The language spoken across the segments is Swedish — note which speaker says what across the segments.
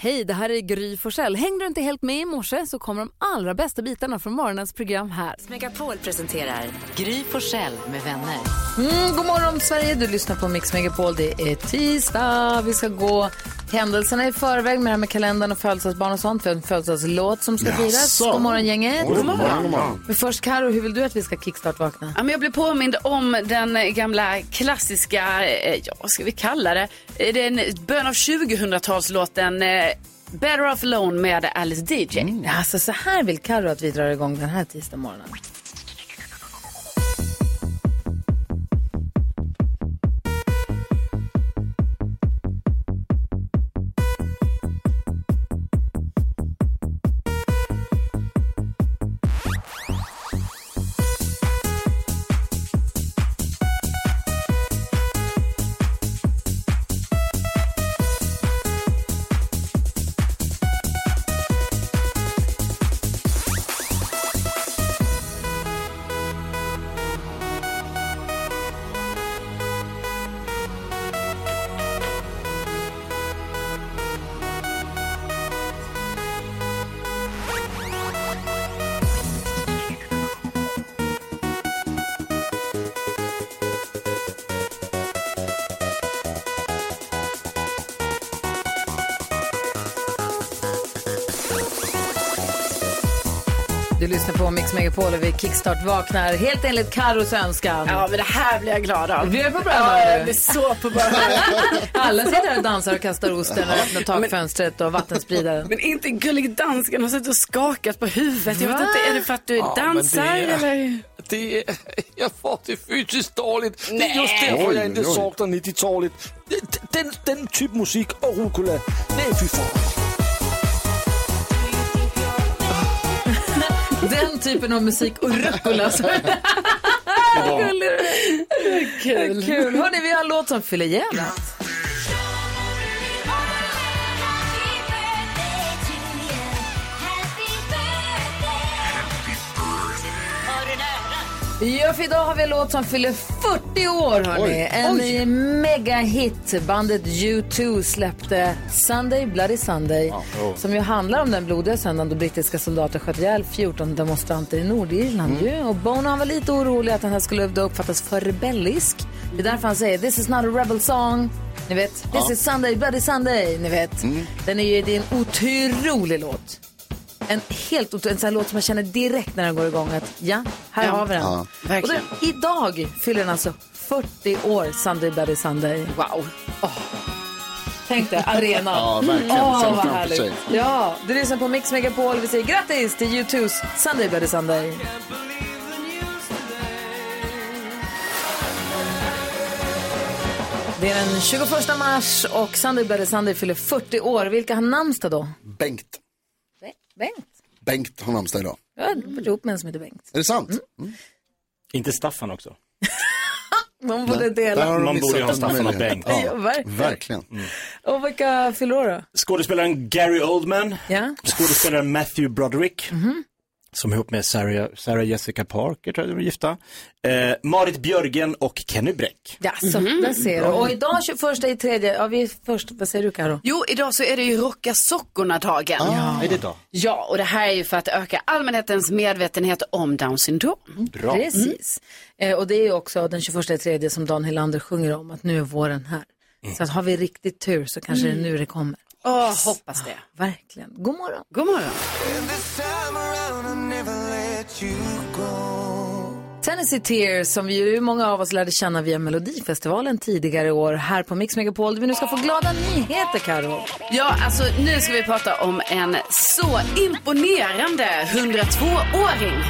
Speaker 1: Hej, det här är Gry Forssell. Hängde du inte helt med i morse så kommer de allra bästa bitarna från morgonens program här.
Speaker 2: Megapol presenterar Gry Forssell med vänner.
Speaker 1: Mm, god morgon Sverige, du lyssnar på Mix Megapol. Det är tisdag. Vi ska gå händelserna i förväg med det här med kalendern och födelsedagsbarn och sånt. Vi har en födelsedagslåt som ska firas.
Speaker 3: Jaså.
Speaker 1: God morgon gänget.
Speaker 3: God morgon, god morgon.
Speaker 1: Men först Karo, hur vill du att vi ska kickstart-vakna?
Speaker 4: Ja, men jag blev påmind om den eh, gamla klassiska, eh, ja vad ska vi kalla det, Eh, den början av 2000-talslåten eh, Better Off Alone med Alice DJ.
Speaker 5: Mm.
Speaker 1: Alltså så här vill Karo att vi drar igång den här tisdag morgonen. Du lyssnar på Mix Megapol och vi kickstart-vaknar helt enligt Karos önskan.
Speaker 4: Ja, men det här blir jag glad av.
Speaker 1: Vi är på bra
Speaker 4: Ja,
Speaker 1: humör, du.
Speaker 4: jag blir så på bra humör.
Speaker 1: Alla sitter här och dansar och kastar osten och öppnar takfönstret och vattenspridaren.
Speaker 4: Men inte gullig dansken har suttit och skakat på huvudet. Jag
Speaker 1: Va?
Speaker 4: vet inte, är det för att du dansar
Speaker 5: men det är-
Speaker 4: eller?
Speaker 5: Det är, jag får det fysiskt dåligt. Det
Speaker 4: Nej.
Speaker 5: är just därför
Speaker 3: Oj,
Speaker 5: jag inte
Speaker 3: oj.
Speaker 5: saknar 90-talet. Den, den typ musik och rucola. Nej, fy fan.
Speaker 1: Den typen av musik och rucola. så- Vad gullig du är.
Speaker 4: Kul.
Speaker 1: Kul. Hörni, vi har en låt som fyller jämnt. Ja, för idag har vi en låt som fyller 40 år, hörni.
Speaker 3: Oj.
Speaker 1: En megahit. Bandet U2 släppte Sunday Bloody Sunday,
Speaker 3: Oh.
Speaker 1: som ju handlar om den blodiga söndagen då brittiska soldater sköt ihjäl 14 demonstranter i Nordirland.
Speaker 3: Mm.
Speaker 1: Ju. Och Bono han var lite orolig att den här skulle då uppfattas för rebellisk. Det är därför han säger “This is not a rebel song”. Ni vet, “This is Sunday Bloody Sunday”. Ni vet.
Speaker 3: Mm.
Speaker 1: Den är ju det är en otrolig låt. En helt otro- en sån här låt som man känner direkt när den går igång att ja, här har vi den. Och
Speaker 4: verkligen.
Speaker 1: då, idag fyller den alltså 40 år, Sunday Bloody Sunday.
Speaker 4: Wow.
Speaker 1: Tänk dig, arenan. Mm.
Speaker 3: Ja, verkligen.
Speaker 1: Åh,
Speaker 3: Sen
Speaker 1: vad
Speaker 3: framför
Speaker 1: härligt.
Speaker 3: sig.
Speaker 1: Ja, du lyssnar på Mix Megapol. Vi säger grattis till U2s Sunday Bloody Sunday. Det är den 21 mars och Sunday Bloody Sunday fyller 40 år. Vilka har namnsdag då?
Speaker 3: Bengt.
Speaker 1: Bengt.
Speaker 3: Bengt har namnsdag idag.
Speaker 1: Jag är ihop med en som heter Bengt.
Speaker 3: Är det sant? Mm.
Speaker 6: Inte Staffan också.
Speaker 1: De borde
Speaker 3: Där
Speaker 1: dela.
Speaker 3: har de
Speaker 6: Man borde ju ha
Speaker 3: missat en
Speaker 6: Staffan och
Speaker 3: möjlighet.
Speaker 6: Bengt. Mm.
Speaker 1: Ja,
Speaker 3: Ja,
Speaker 1: verkligen.
Speaker 3: verkligen.
Speaker 1: Och vilka fyller år då?
Speaker 6: Skådespelaren Gary Oldman.
Speaker 1: Ja.
Speaker 6: Skådespelaren Matthew Broderick. Som är ihop med Sarah, Sarah Jessica Parker, tror jag de är gifta. Eh, Marit Björgen och Kenny Bräck.
Speaker 1: Ja, så där ser du. Mhm. Och idag 21 i tredje, ja vi är först, vad säger du Karo?
Speaker 4: Jo, idag så är det ju rocka sockorna-dagen.
Speaker 3: Ah,
Speaker 6: Är det då?
Speaker 4: Ja, och det här är ju för att öka allmänhetens medvetenhet om Downs syndrom.
Speaker 1: Mm.
Speaker 4: Mm.
Speaker 6: Bra.
Speaker 1: Precis. Eh, och det är ju också den 21 i tredje som Dan Hylander sjunger om, att nu är våren här.
Speaker 6: Mm.
Speaker 1: Så att har vi riktigt tur så kanske det är nu det kommer.
Speaker 4: Åh, hoppas det.
Speaker 1: Verkligen. God morgon.
Speaker 4: Mm. God morgon.
Speaker 1: Tennessee Tears som ju många av oss lärde känna via Melodifestivalen tidigare i år här på Mix Megapol. där Vi nu ska få glada nyheter Karo.
Speaker 4: Ja, alltså nu ska vi prata om en så imponerande 102-åring.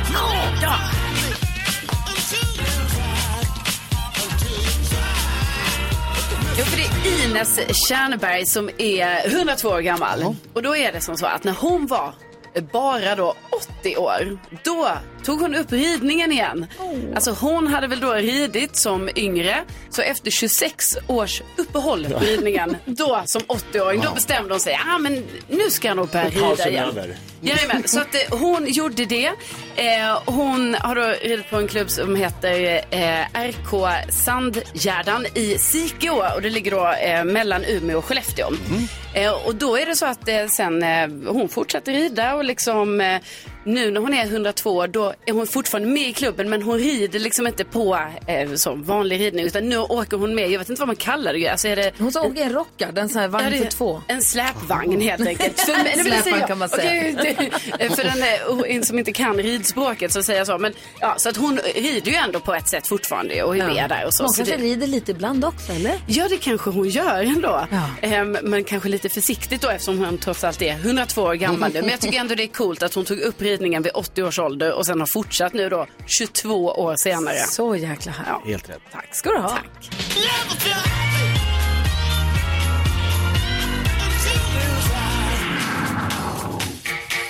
Speaker 4: Ja. Jo, för det är Ines Tjärnberg som är 102 år gammal. Och då är det som så att när hon var bara då 80 år, då tog hon upp ridningen igen. Alltså hon hade väl då ridit som yngre, så efter 26 års uppehåll på ridningen, då som 80-åring, då bestämde hon sig, ah, men nu ska jag nog börja rida
Speaker 6: Pausen
Speaker 4: igen.
Speaker 6: över.
Speaker 4: Jajamän, så att eh, hon gjorde det. Eh, hon har då ridit på en klubb som heter eh, RK Sandgärdan i Sikeå och det ligger då eh, mellan Umeå och Skellefteå.
Speaker 6: Mhm.
Speaker 4: Eh, och då är det så att eh, sen eh, hon fortsätter rida och liksom eh, nu när hon är 102 år, då är hon fortfarande med i klubben men hon rider liksom inte på eh, som vanlig ridning utan nu åker hon med, jag vet inte vad man kallar det. Alltså är det
Speaker 1: Hon som åker i en rockad, en sån här
Speaker 4: Ja,
Speaker 1: vagn
Speaker 4: det-
Speaker 1: för två.
Speaker 4: En släpvagn helt enkelt. För, nej, men det
Speaker 1: Släpvagn
Speaker 4: säger jag.
Speaker 1: kan man säga.
Speaker 4: Okej, det- för den eh, o- en som inte kan ridspråket så säger jag så. Men, ja, så att hon rider ju ändå på ett sätt fortfarande och är med där och så.
Speaker 1: Hon
Speaker 4: så
Speaker 1: kanske
Speaker 4: det,
Speaker 1: rider lite ibland också, eller?
Speaker 4: ja, det kanske hon gör ändå.
Speaker 1: Ja.
Speaker 4: Ehm, men kanske lite försiktigt då eftersom hon trots allt är 102 år gammal nu. Men jag tycker ändå det är coolt att hon tog upp ridningen vid 80 års ålder och sen har fortsatt nu då 22 år senare.
Speaker 1: Så jäkla här.
Speaker 4: Ja.
Speaker 6: Helt rätt.
Speaker 4: Tack
Speaker 1: ska du ha.
Speaker 4: Tack.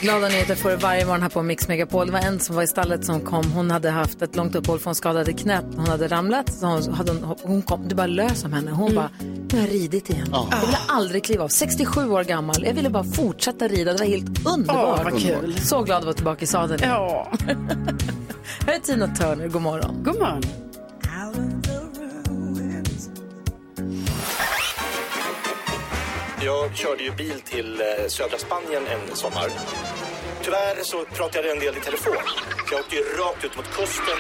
Speaker 1: Glada nyheter får du varje morgon här på Mix Megapol. Det var en som var i stallet som kom. Hon hade haft ett långt uppehåll för hon skadade knät. Hon hade ramlat. Så hon, hade hon, hon kom, det bara lös om henne.
Speaker 4: Mm.
Speaker 1: Hon bara, nu har jag ridit igen. Jag ville aldrig kliva av. 67 år gammal. Jag ville bara fortsätta rida. Det var helt underbart.
Speaker 4: Åh, vad kul.
Speaker 1: Så glad att vara tillbaka i sadeln.
Speaker 4: Ja,
Speaker 1: Här är Tina Turner. God morgon.
Speaker 4: god morgon.
Speaker 6: Jag körde ju bil till eh, södra Spanien en sommar. Tyvärr så pratade jag en del i telefon. Så jag åkte ju rakt ut mot kusten,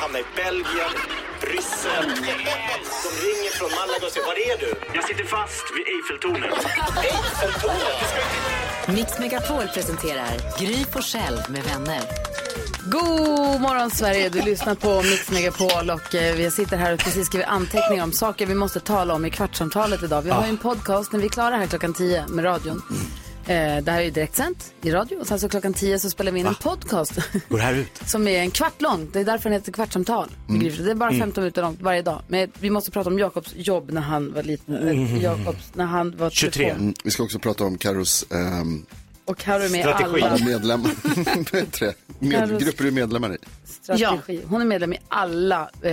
Speaker 6: hamnade i Belgien, Bryssel. De ringer från Malaga och säger, var är du?
Speaker 7: Jag sitter fast vid Eiffeltornet.
Speaker 2: Mix Megapol presenterar Gry Forssell med vänner.
Speaker 1: God morgon Sverige, du lyssnar på Mix Megapol och eh, vi sitter här och precis skriver anteckningar om saker vi måste tala om i kvartsamtalet idag. Vi har ju en podcast när vi är klara här klockan 10 med radion. Eh, det här är ju direktsänt i radio och sen så klockan 10 så spelar vi in en podcast
Speaker 6: Går här ut?
Speaker 1: som är en kvart lång. Det är därför den heter Kvartsamtal. Begriper du? Det är bara 15 minuter långt varje dag. Men vi måste prata om Jakobs jobb när han var liten. Eh, Jakobs när han var
Speaker 6: 23.
Speaker 1: telefon.
Speaker 3: Mm, vi ska också prata om Carros ehm,
Speaker 1: Och Carro är med i
Speaker 6: Strategi.
Speaker 1: alla
Speaker 3: medlemmar. Vad heter det? med,
Speaker 1: Carros-
Speaker 3: grupper du är medlemmar i.
Speaker 1: strategi. Hon är medlem i alla eh,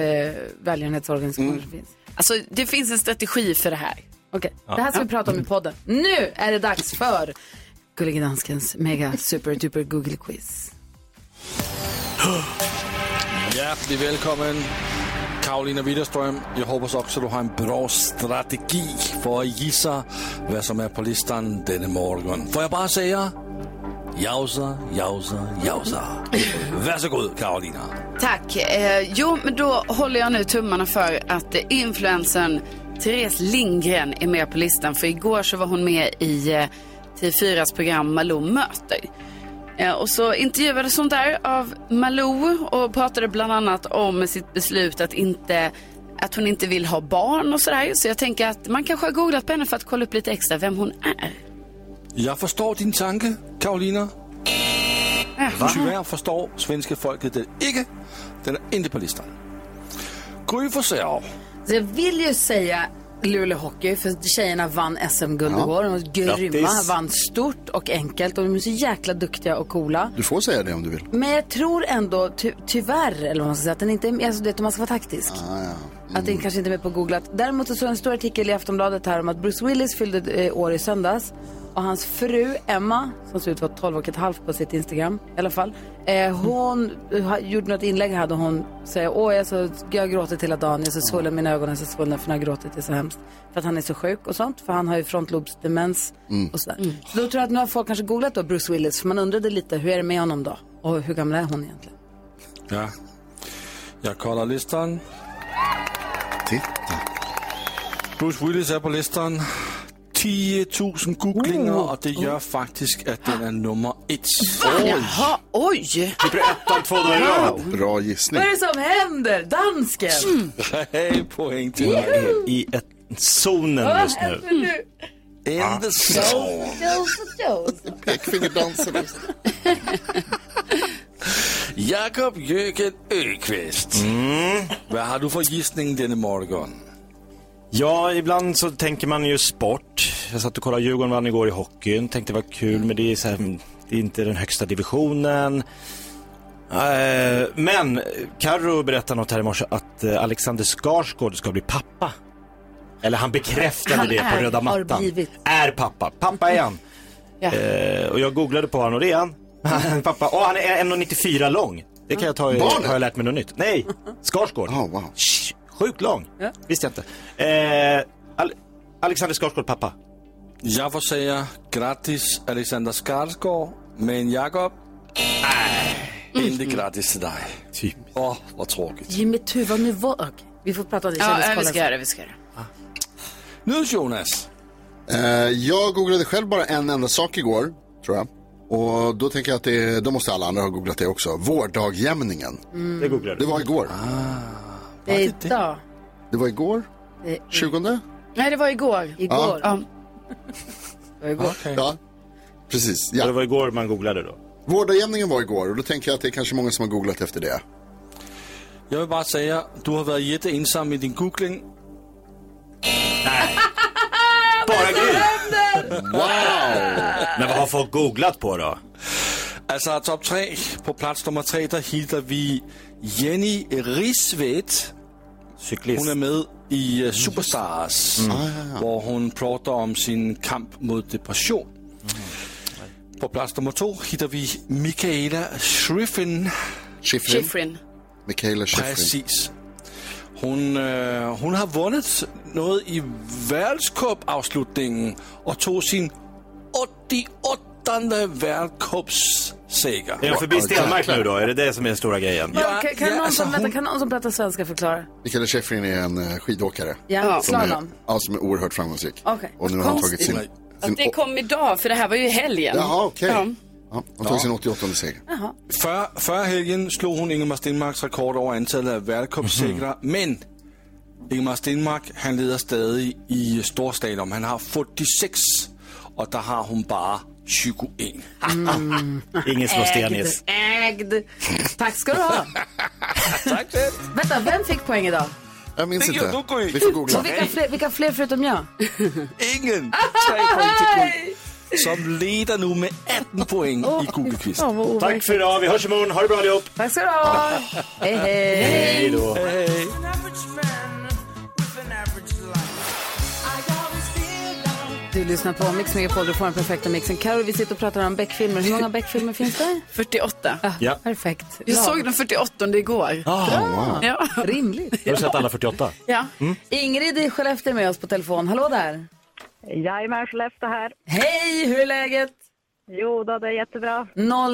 Speaker 1: välgörenhetsorganisationer som finns.
Speaker 4: Alltså det finns en strategi för det här.
Speaker 1: Okej, det här ska vi prata om i podden. Nu är det dags för Gullige Danskens mega super duper Google quiz.
Speaker 5: Hjertelig velkommen, Karolina Widerstrøm. Jeg håber så også, at du har en bra strategi for at gisse, hvad som er på listen denne morgen. For jeg bare siger, jauser, jauser, jauser. Værsågod, Karolina.
Speaker 4: Tack. Eh, jo, men då håller jag nu tummarna för att eh, influensen Therese Lindgren är med på listan. För igår så var hon med i eh, TV4s program Malou möter. Eh, och så intervjuades hon där av Malou och pratade bland annat om sitt beslut att inte att hon inte vill ha barn och sådär. Så jag tänker att man kanske har googlat på henne för att kolla upp lite extra vem hon är.
Speaker 5: Jeg forstår din tanke, Karolina. Tyvärr forstår svenske folket det ikke. Den er ikke på listen. Gry Forsell.
Speaker 1: Så jag vill ju säga Luleå Hockey, för tjejerna vann SM-guld igår. De var grymma,
Speaker 6: Grattis.
Speaker 1: vann stort och enkelt och de är så jäkla duktiga och coola.
Speaker 3: Du får säga det om du vill.
Speaker 1: Men jag tror ändå, ty- tyvärr, eller vad man ska säga, att den inte är alltså, du vet, om man ska vara taktisk. Att den kanske inte är med på googlat. Däremot så såg jag en stor artikel i Aftonbladet här om att Bruce Willis fyllde eh, år i söndags. Och hans fru Emma, som ser ut att vara 12 och ett halvt på sitt Instagram i alla fall. Eh, hon eh, ha- gjorde något inlägg här där hon säger Åh, jag, så, jag gråter hela dagen, jag är så svullen, mina ögon är så svullna för när jag gråtit, det är så hemskt. För att han är så sjuk och sånt, för han har ju frontlobsdemens och sådär. Så då tror jag att nu har folk kanske googlat då Bruce Willis, för man undrade lite, hur är det med honom då? Och hur gammal är hon egentligen?
Speaker 5: Ja. Jeg kolder listen.
Speaker 3: Titta.
Speaker 5: Bruce Willis er på listen. 10.000 googlinger, og det gør faktisk, at den er nummer et.
Speaker 4: Jaha, oj!
Speaker 6: Du ettan två dagar i rad.
Speaker 3: Bra gissning.
Speaker 1: Vad är det som händer? Dansken!
Speaker 5: Mm. Tre point til dig.
Speaker 6: I ett zonen just nu.
Speaker 5: In the zone.
Speaker 3: Pekfingerdansen.
Speaker 5: Jakob Jøgen Øqvist.
Speaker 8: Mm.
Speaker 5: Hvad har du for gissning denne morgen?
Speaker 6: Ja, ibland så tänker man ju sport. Jag satt och kollade Djurgården vann igår i hockeyn. Tänkte det var kul, men det är så här, mm,
Speaker 8: Det är inte den högsta divisionen. Eh, Men Carro berättade något här i morse att eh, Alexander Skarsgård ska bli pappa. Eller han bekräftade
Speaker 1: Han
Speaker 8: det
Speaker 1: är-
Speaker 8: på röda
Speaker 1: har
Speaker 8: mattan.
Speaker 1: blivit.
Speaker 8: Är pappa. Pappa är han.
Speaker 1: Ja.
Speaker 8: Eh, Och jag googlade på honom och det är han. Han är pappa. Och han är 1,94 lång. Det kan jag ta i,
Speaker 3: Barnet?
Speaker 8: har jag lärt mig något nytt. Nej, Skarsgård.
Speaker 3: Ja, wow.
Speaker 8: Shh, Sjukt lång. Visste jag inte. Eh, Al- Alexander Skarsgård pappa.
Speaker 5: Jag får säga grattis Alexander Skarsgård, men Jakob, nej, inte grattis till dig.
Speaker 8: Typ.
Speaker 5: Åh, vad tråkigt.
Speaker 1: Jimmy Tuva, nu var... Okej, vi får prata om det i
Speaker 4: Ja, ja, vi
Speaker 1: Kändiskollen
Speaker 4: ska göra det. Vi ska göra. det.
Speaker 5: Nu Jonas,
Speaker 3: Eh, jag googlade själv bara en enda sak igår, tror jag. Och då tänker jag att det, då måste alla andra ha googlat det också. Vårdagjämningen.
Speaker 8: Det googlar
Speaker 3: Det
Speaker 8: du.
Speaker 3: var igår.
Speaker 1: sen. Det är idag.
Speaker 3: Det var igår?
Speaker 1: Det är
Speaker 3: 20?
Speaker 4: Nej, det var igår.
Speaker 1: igår.
Speaker 4: Ja.
Speaker 1: Det var igår.
Speaker 3: Ja, precis.
Speaker 8: Ja,
Speaker 3: Ja.
Speaker 8: Ah, Det var igår man googlade då.
Speaker 3: Vårdagjämningen var igår och då tänker jag att det är kanske många som har googlat efter det.
Speaker 5: jag vill bara säga, du har varit jätteensam i din googling.
Speaker 8: Bara Gry.
Speaker 3: Wow!
Speaker 8: Men vad har folk googlat på då?
Speaker 5: Altså top 3. På plats nummer 3, der hittar vi Jenny Risvedt.
Speaker 8: Cyklist. Mm. Ah,
Speaker 5: Hun er med i øh, Superstars, hvor hun prater om sin kamp mod depression. På plats nummer 2 hittar vi Michaela Schriffin.
Speaker 3: Schifrin.
Speaker 4: Schifrin.
Speaker 3: Michaela Schifrin.
Speaker 5: Præcis. Hun, øh, hun har vundet noget i verdenscup-afslutningen og tog sin 88. verdenscupsækker.
Speaker 8: Är de förbi Stenmark nu då? Är det det som är den stora grejen?
Speaker 1: Ja, kan, kan,
Speaker 5: ja,
Speaker 1: någon
Speaker 5: alltså,
Speaker 1: som, vänta,
Speaker 5: hon-
Speaker 1: kan någon som pratar svenska förklara?
Speaker 3: Michaela Schifrin är en eh, skidåkare.
Speaker 1: Ja,
Speaker 4: Ja.
Speaker 3: Som är,
Speaker 1: slalom.
Speaker 3: ja, som är oerhört framgångsrik.
Speaker 1: Okej.
Speaker 3: Och nu har hon tagit sin...
Speaker 5: Konstigt.
Speaker 3: sin
Speaker 4: Att det kom idag, för det här var ju i helgen.
Speaker 3: Jaha, okej.
Speaker 4: Ja.
Speaker 3: Ja, hon tog sin 88 seger.
Speaker 5: Før, før helgen slog hun Ingemar Stenmarks rekord over antallet af
Speaker 3: Mhm.
Speaker 5: verdenscupsikre, men Ingemar Stenmark, han leder stadig i storstadion. Han har 46, og der har hun bare 21.
Speaker 8: Ingen slår Stenis.
Speaker 1: Ägd. Tack ska du ha.
Speaker 5: Tak, det.
Speaker 1: Vänta, vem fick poäng idag?
Speaker 3: Jag minns
Speaker 5: Det gör
Speaker 3: inte.
Speaker 5: du, Gry.
Speaker 3: Vi får
Speaker 1: Och
Speaker 3: googla.
Speaker 1: vilka, fler, vilka fler förutom jeg?
Speaker 5: Ingen. Tre point til Gry, som leder nu med 18 point i Google-quiz.
Speaker 1: Åh, vad overkligt.
Speaker 8: Tack för idag. Vi hörs imorgon. Ha det bra allihop.
Speaker 1: Tack ska du ha. Hej, hej.
Speaker 8: Hej då.
Speaker 1: Du lyssnar på Mix Megapol, du får den perfekta mixen. Carro, vi sitter och pratar om Beck-filmer. Hur många Beck-filmer finns det?
Speaker 4: 48.
Speaker 8: Ja. Ah.
Speaker 1: Perfekt.
Speaker 4: Jag
Speaker 1: Lagom.
Speaker 4: såg den 48 igår. Ja.
Speaker 1: Rimligt.
Speaker 8: Har du sett alla 48?
Speaker 4: ja.
Speaker 1: Ingrid i Skellefteå är med oss på telefon. Hallå där.
Speaker 9: Jajamän, Skellefteå här.
Speaker 1: Hej, hur är läget?
Speaker 9: Jo då, det är jättebra.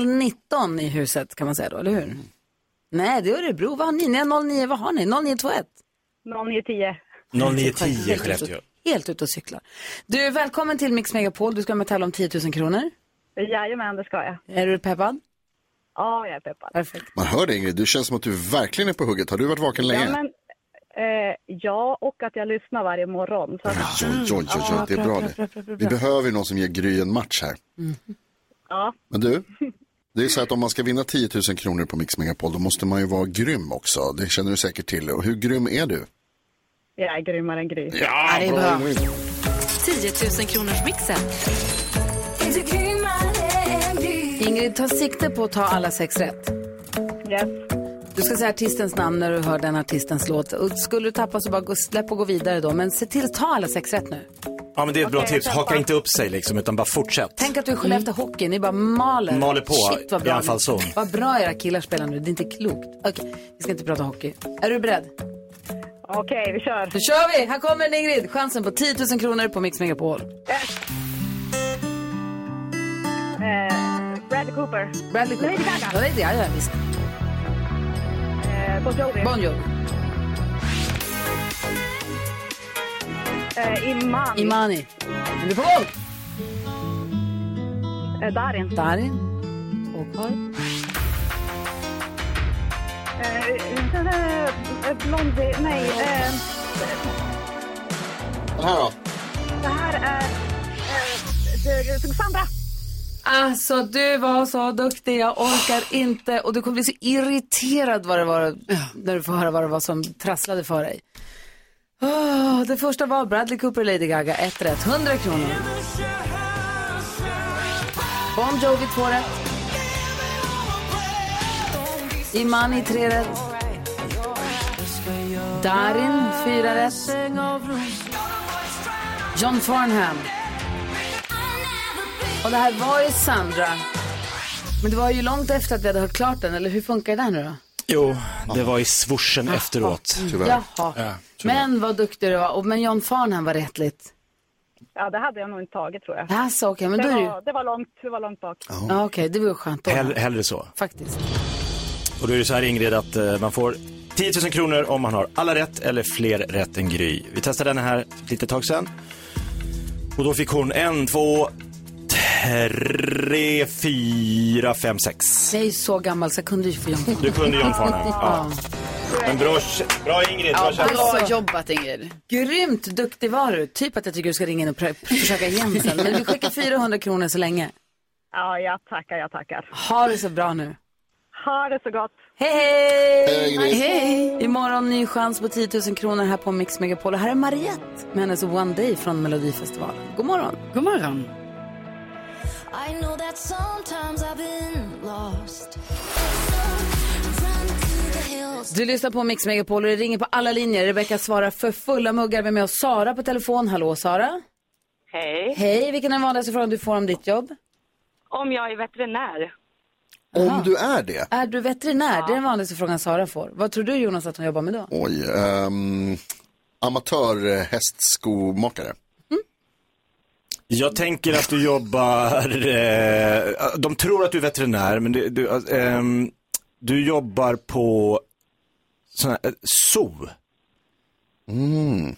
Speaker 1: 019 i huset kan man säga då, eller hur? Nej, det är Örebro. Vad har ni? Ni har 09, vad har ni? 0921?
Speaker 9: 09.10.
Speaker 8: 09.10 Skellefteå.
Speaker 1: Helt ute och cyklar. Du, välkommen till Mix Megapol. Du ska med och tävla om 10 000 kronor.
Speaker 9: Jajamän, det ska jag.
Speaker 1: Är du peppad?
Speaker 9: Ja, jag är peppad.
Speaker 1: Perfekt.
Speaker 3: Man hör dig Ingrid, du känns som att du verkligen är på hugget. Har du varit vaken länge?
Speaker 9: Ja, men, eh, ja, och att jag lyssnar varje morgon. Så att,
Speaker 3: Oj, oj, oj, oj, det är bra det. Vi behöver ju någon som ger Gry en match här.
Speaker 9: ja,
Speaker 3: Men du, det är så att om man ska vinna 10 000 kronor på Mix Megapol, då måste man ju vara grym också. Det känner du säkert till. Och hur grym är du?
Speaker 9: jag är grymmare än Gry.
Speaker 1: Ja, det är bra.
Speaker 2: 10 000 kronors mixen.
Speaker 9: Eh,
Speaker 1: Ingrid, ta sikte på att ta alla sex rätt.
Speaker 9: Yes.
Speaker 1: Du ska säga artistens namn när du hör den artistens låt. Och skulle du tappa så bara gå, släpp och gå vidare då. Men se till, ta alla sex rätt nu.
Speaker 8: Ja men det är ett bra tips. Haka inte upp sig liksom utan bara fortsätt.
Speaker 1: Tänk att du är Skellefteå Hockey, ni bara maler.
Speaker 8: Maler på,
Speaker 1: Shit vad
Speaker 8: i
Speaker 1: bra,
Speaker 8: anfallszon.
Speaker 1: ni- vad bra era killar spelar nu, det är inte klokt. Okej, vi ska inte prata hockey. Är du beredd?
Speaker 9: Okej, vi kör.
Speaker 1: Då kör vi! Här kommer Ingrid, chansen på 10 000 kronor på Mix Megapol.
Speaker 9: Eh, Bradley Cooper.
Speaker 1: Bradley Cooper.
Speaker 9: Lady Gaga.
Speaker 1: Ja, Lady Gaga, visst.
Speaker 9: Eh, Bon Jovi.
Speaker 1: Bon Jovi.
Speaker 9: Eh, Iman.
Speaker 1: Imani. Är du på gång?
Speaker 9: Eh, Darin.
Speaker 1: Darin. Två kvar.
Speaker 9: Eh, eh, eh, Blondie. Nej. Eh,
Speaker 3: Den här då?
Speaker 9: det här är... Eh, eh, Sandra.
Speaker 1: Alltså du var så duktig, jag orkar inte. Och du kommer bli så irriterad vad det var, när du får höra vad det var som trasslade för dig. Åh, det första var Bradley Cooper och Lady Gaga, ett rätt, 100 kronor. Bon Jovi två rätt. Imani tre rätt. Darin fyra rätt. John Farnham. Och det här var ju Sandra. Men det var ju långt efter att vi hade hört klart den, eller hur funkar det där nu då?
Speaker 8: Jo, det var i svorsen efteråt.
Speaker 1: Jaha. men vad duktig du var. Och, men John Farnham var rättligt.
Speaker 9: Ja, det hade jag nog inte tagit tror jag.
Speaker 1: Jaså, okej, men
Speaker 9: det,
Speaker 1: då är det ju...
Speaker 9: var, det var långt, det var långt bak.
Speaker 1: Ja, okej, det var ju skönt då.
Speaker 8: Hell, hellre så.
Speaker 1: Faktiskt.
Speaker 8: Och då är det så här Ingrid att eh, man får 10 000 kronor om man har alla rätt eller fler rätt än Gry. Vi testade den här lite tag sedan. Och då fick hon en, två, tre, fyra, fem, sex.
Speaker 1: Jag är ju så gammal så jag kunde ju få John Farnham.
Speaker 8: Du kunde John Farnham. Ja. Men bra, bra Ingrid, bra kämpat.
Speaker 4: Bra jobbat Ingrid.
Speaker 1: Grymt duktig var du. Typ att jag tycker du ska ringa in och prö- försöka igen sen. Men vi skickar 400 kronor så länge.
Speaker 9: Ja, jag tackar, jag tackar.
Speaker 1: Ha det så bra nu.
Speaker 9: Ha det så gott.
Speaker 1: Hej, hej!
Speaker 3: Hej, Ingrid.
Speaker 1: Hej! Imorgon ny chans på 10 000 kronor här på Mix Megapol. Och här är Mariette med hennes One Day från Melodifestivalen. God morgon!
Speaker 4: God morgon.
Speaker 1: Du lyssnar på Mix Megapol och det ringer på alla linjer. Rebecka svarar för fulla muggar. Vi har med oss Sara på telefon. Hallå Sara!
Speaker 9: Hej.
Speaker 1: Hej! Vilken är den vanligaste frågan du får om ditt jobb?
Speaker 9: Om jag är veterinär?
Speaker 3: Om du är det.
Speaker 1: Är du veterinär? Det är den vanligaste frågan Sara får. Vad tror du Jonas att hon jobbar med då?
Speaker 3: Oj. Um, Amatörhästskomakare.
Speaker 8: Jag tänker att du jobbar, eh, de tror att du är veterinär, men du, du, eh, du jobbar på sån här, eh, zoo.
Speaker 3: Mm.